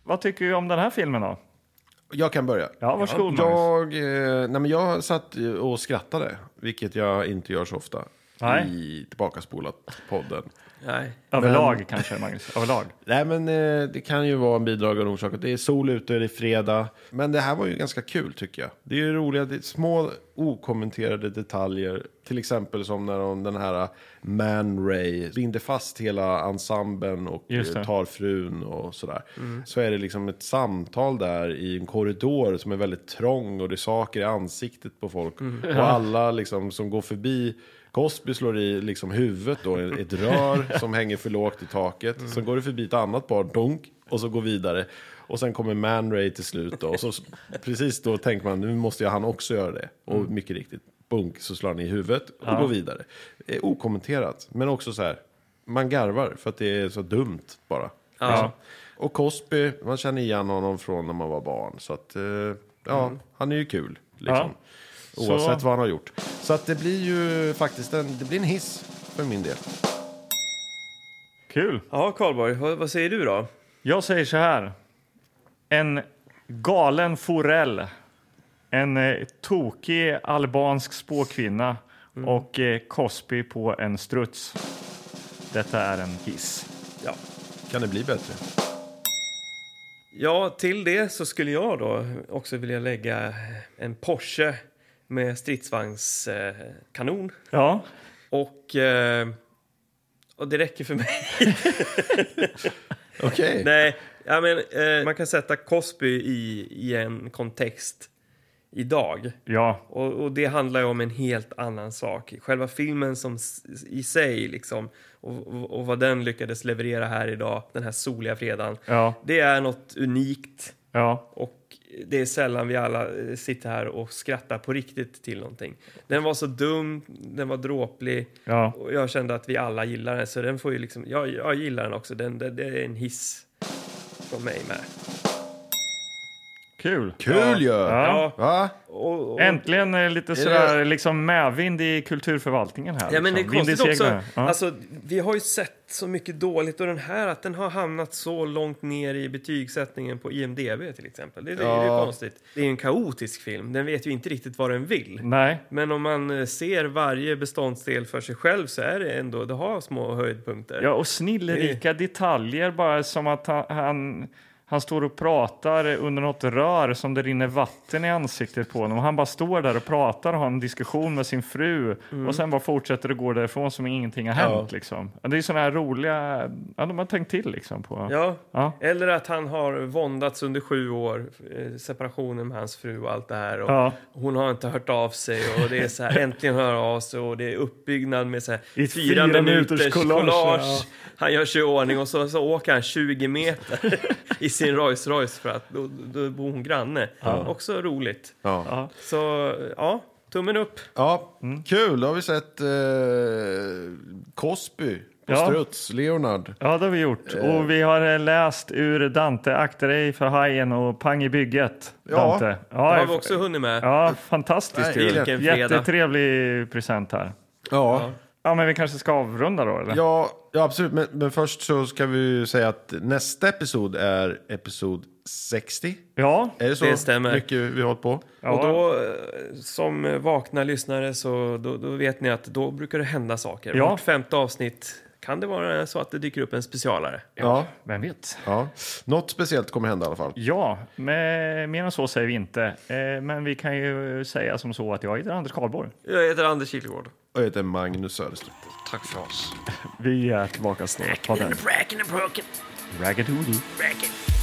S3: Vad tycker du om den här filmen då?
S1: Jag kan börja.
S3: Ja, varsågod Magnus.
S1: Jag, eh, nej men jag satt eh, och skrattade, vilket jag inte gör så ofta
S3: Nej.
S1: i Tillbakaspolat-podden.
S2: Nej.
S3: Överlag kanske Magnus, överlag.
S1: Nej, men eh, det kan ju vara en bidragande orsak. att Det är sol ute, det är fredag. Men det här var ju ganska kul tycker jag. Det är ju roliga, det är små okommenterade detaljer. Till exempel som när de, den här eh, Man Ray binder fast hela ensemblen och
S3: Just det.
S1: eh, tar frun och sådär. Så är det liksom ett samtal där i en korridor som är väldigt trång och det är saker i ansiktet på folk. Och alla liksom som går förbi Cosby slår i liksom huvudet då, i ett rör som hänger för lågt i taket. Sen går det förbi ett annat par, dunk, och så går vidare. Och sen kommer Man Ray till slut då. Och så, precis då tänker man, nu måste jag han också göra det. Och mycket riktigt, bunk, så slår han i huvudet och går vidare. Eh, Okommenterat, men också så här, man garvar för att det är så dumt bara.
S2: Ja.
S1: Och Cosby, man känner igen honom från när man var barn. Så att, eh, ja, han är ju kul. Liksom.
S3: Ja.
S1: Oavsett
S3: Så-
S1: vad han har gjort. Så att det blir ju faktiskt en, det blir en hiss för min del.
S3: Kul.
S2: Ja, Karlborg, vad, vad säger du då?
S3: Jag säger så här. En galen forell, en eh, tokig albansk spåkvinna
S2: Mm.
S3: och eh, Cosby på en struts. Detta är en hiss.
S2: Ja.
S1: Kan det bli bättre?
S2: ja, till det så skulle jag då också vilja lägga en Porsche med stridsvagnskanon. Eh, kanon.
S3: Ja,
S2: och, eh, och det räcker för mig.
S1: Okej.
S2: Nej, ja, men, eh, man kan sätta Cosby i, i en kontext idag.
S3: ja,
S2: Och, och det handlar ju om en helt annan sak. Själva filmen som s- i sig liksom och, och- och vad den lyckades leverera här idag, den här soliga fredagen.
S3: ja,
S2: Det är något unikt
S3: ja.
S2: och det är sällan vi alla eh, sitter här och skrattar på riktigt till någonting. Den var så dum, den var dråplig
S3: ja.
S2: och jag kände att vi alla gillar den så den får ju liksom, jag, jag gillar den också. Den, det, det är en hiss från mig med.
S3: Kul.
S1: Kul ju! Ja.
S3: Ja.
S1: Va?
S2: Och, och,
S3: Äntligen eh, lite sådär liksom medvind i kulturförvaltningen här.
S2: Ja, men det är
S3: liksom. Vind i
S2: konstigt också.
S3: seglen. Ja.
S2: Alltså, vi har ju sett så mycket dåligt och den här att den har hamnat så långt ner i betygssättningen på IMDB till exempel. Det, det, det är ju konstigt. Det är en kaotisk film. Den vet ju inte riktigt vad den vill.
S3: Nej,
S2: Men om man eh, ser varje beståndsdel för sig själv så är det ändå, det har små höjdpunkter.
S3: Ja, och snillrika detaljer bara som att han, han, han står och pratar under något rör som det rinner vatten i ansiktet på honom. Han bara står där och pratar och har en diskussion med sin fru
S2: Mm.
S3: och sen bara fortsätter och går därifrån som ingenting har hänt. Liksom. Ja, Det är sådana här roliga, ja, de har tänkt till liksom på.
S2: Ja.
S3: Ja.
S2: Eller att han har våndats under sju år, eh, separationen med hans fru och allt det här. Och
S3: Ja.
S2: Hon har inte hört av sig och det är så här, äntligen hör av sig och det är uppbyggnad med så här,
S3: I ett fyra minuters collage, ja.
S2: Han gör sig i ordning och så, så åker han 20 meter i sin Rolls Royce för att då, då bor hon granne. Också roligt.
S1: Ja.
S2: Så ja, tummen upp.
S1: ja. Kul, då har vi sett eh, Cosby på
S3: Ja.
S1: struts, Leonard.
S3: Ja, det har vi gjort. Och vi har eh, läst ur Dante, akta dig för hajen och pang i bygget.
S1: Ja.
S3: Dante.
S2: Det
S3: Ja,
S2: har vi också hunnit med.
S3: ja fantastiskt
S1: Nej,
S3: ju.
S2: vilken fredag.
S3: Jättetrevlig present här.
S1: Ja.
S3: Ja, men vi kanske ska avrunda då, eller?
S1: Ja, ja absolut. Men, men först så ska vi ju säga att nästa episod är episod 60.
S3: Ja,
S1: Är det så
S2: Det stämmer.
S1: mycket vi har hållit på?
S2: Eh, Och då, eh, som eh, vakna lyssnare, så då, då vet ni att då brukar det hända saker.
S3: Ja.
S2: Vårt femte avsnitt kan det vara så att det dyker upp en specialare.
S1: Ja.
S3: vem vet?
S1: ja. Något speciellt kommer hända i alla fall.
S3: Ja, men mer än så säger vi inte. Eh, Men vi kan ju säga som så att jag heter Anders Karlborg.
S2: Jag heter Anders Kihlgård.
S1: Och jag heter Magnus Söderström.
S2: Tack för oss.
S3: Vi är tillbaka snart. Ha det. Ragged hoodie.
S9: Bracket.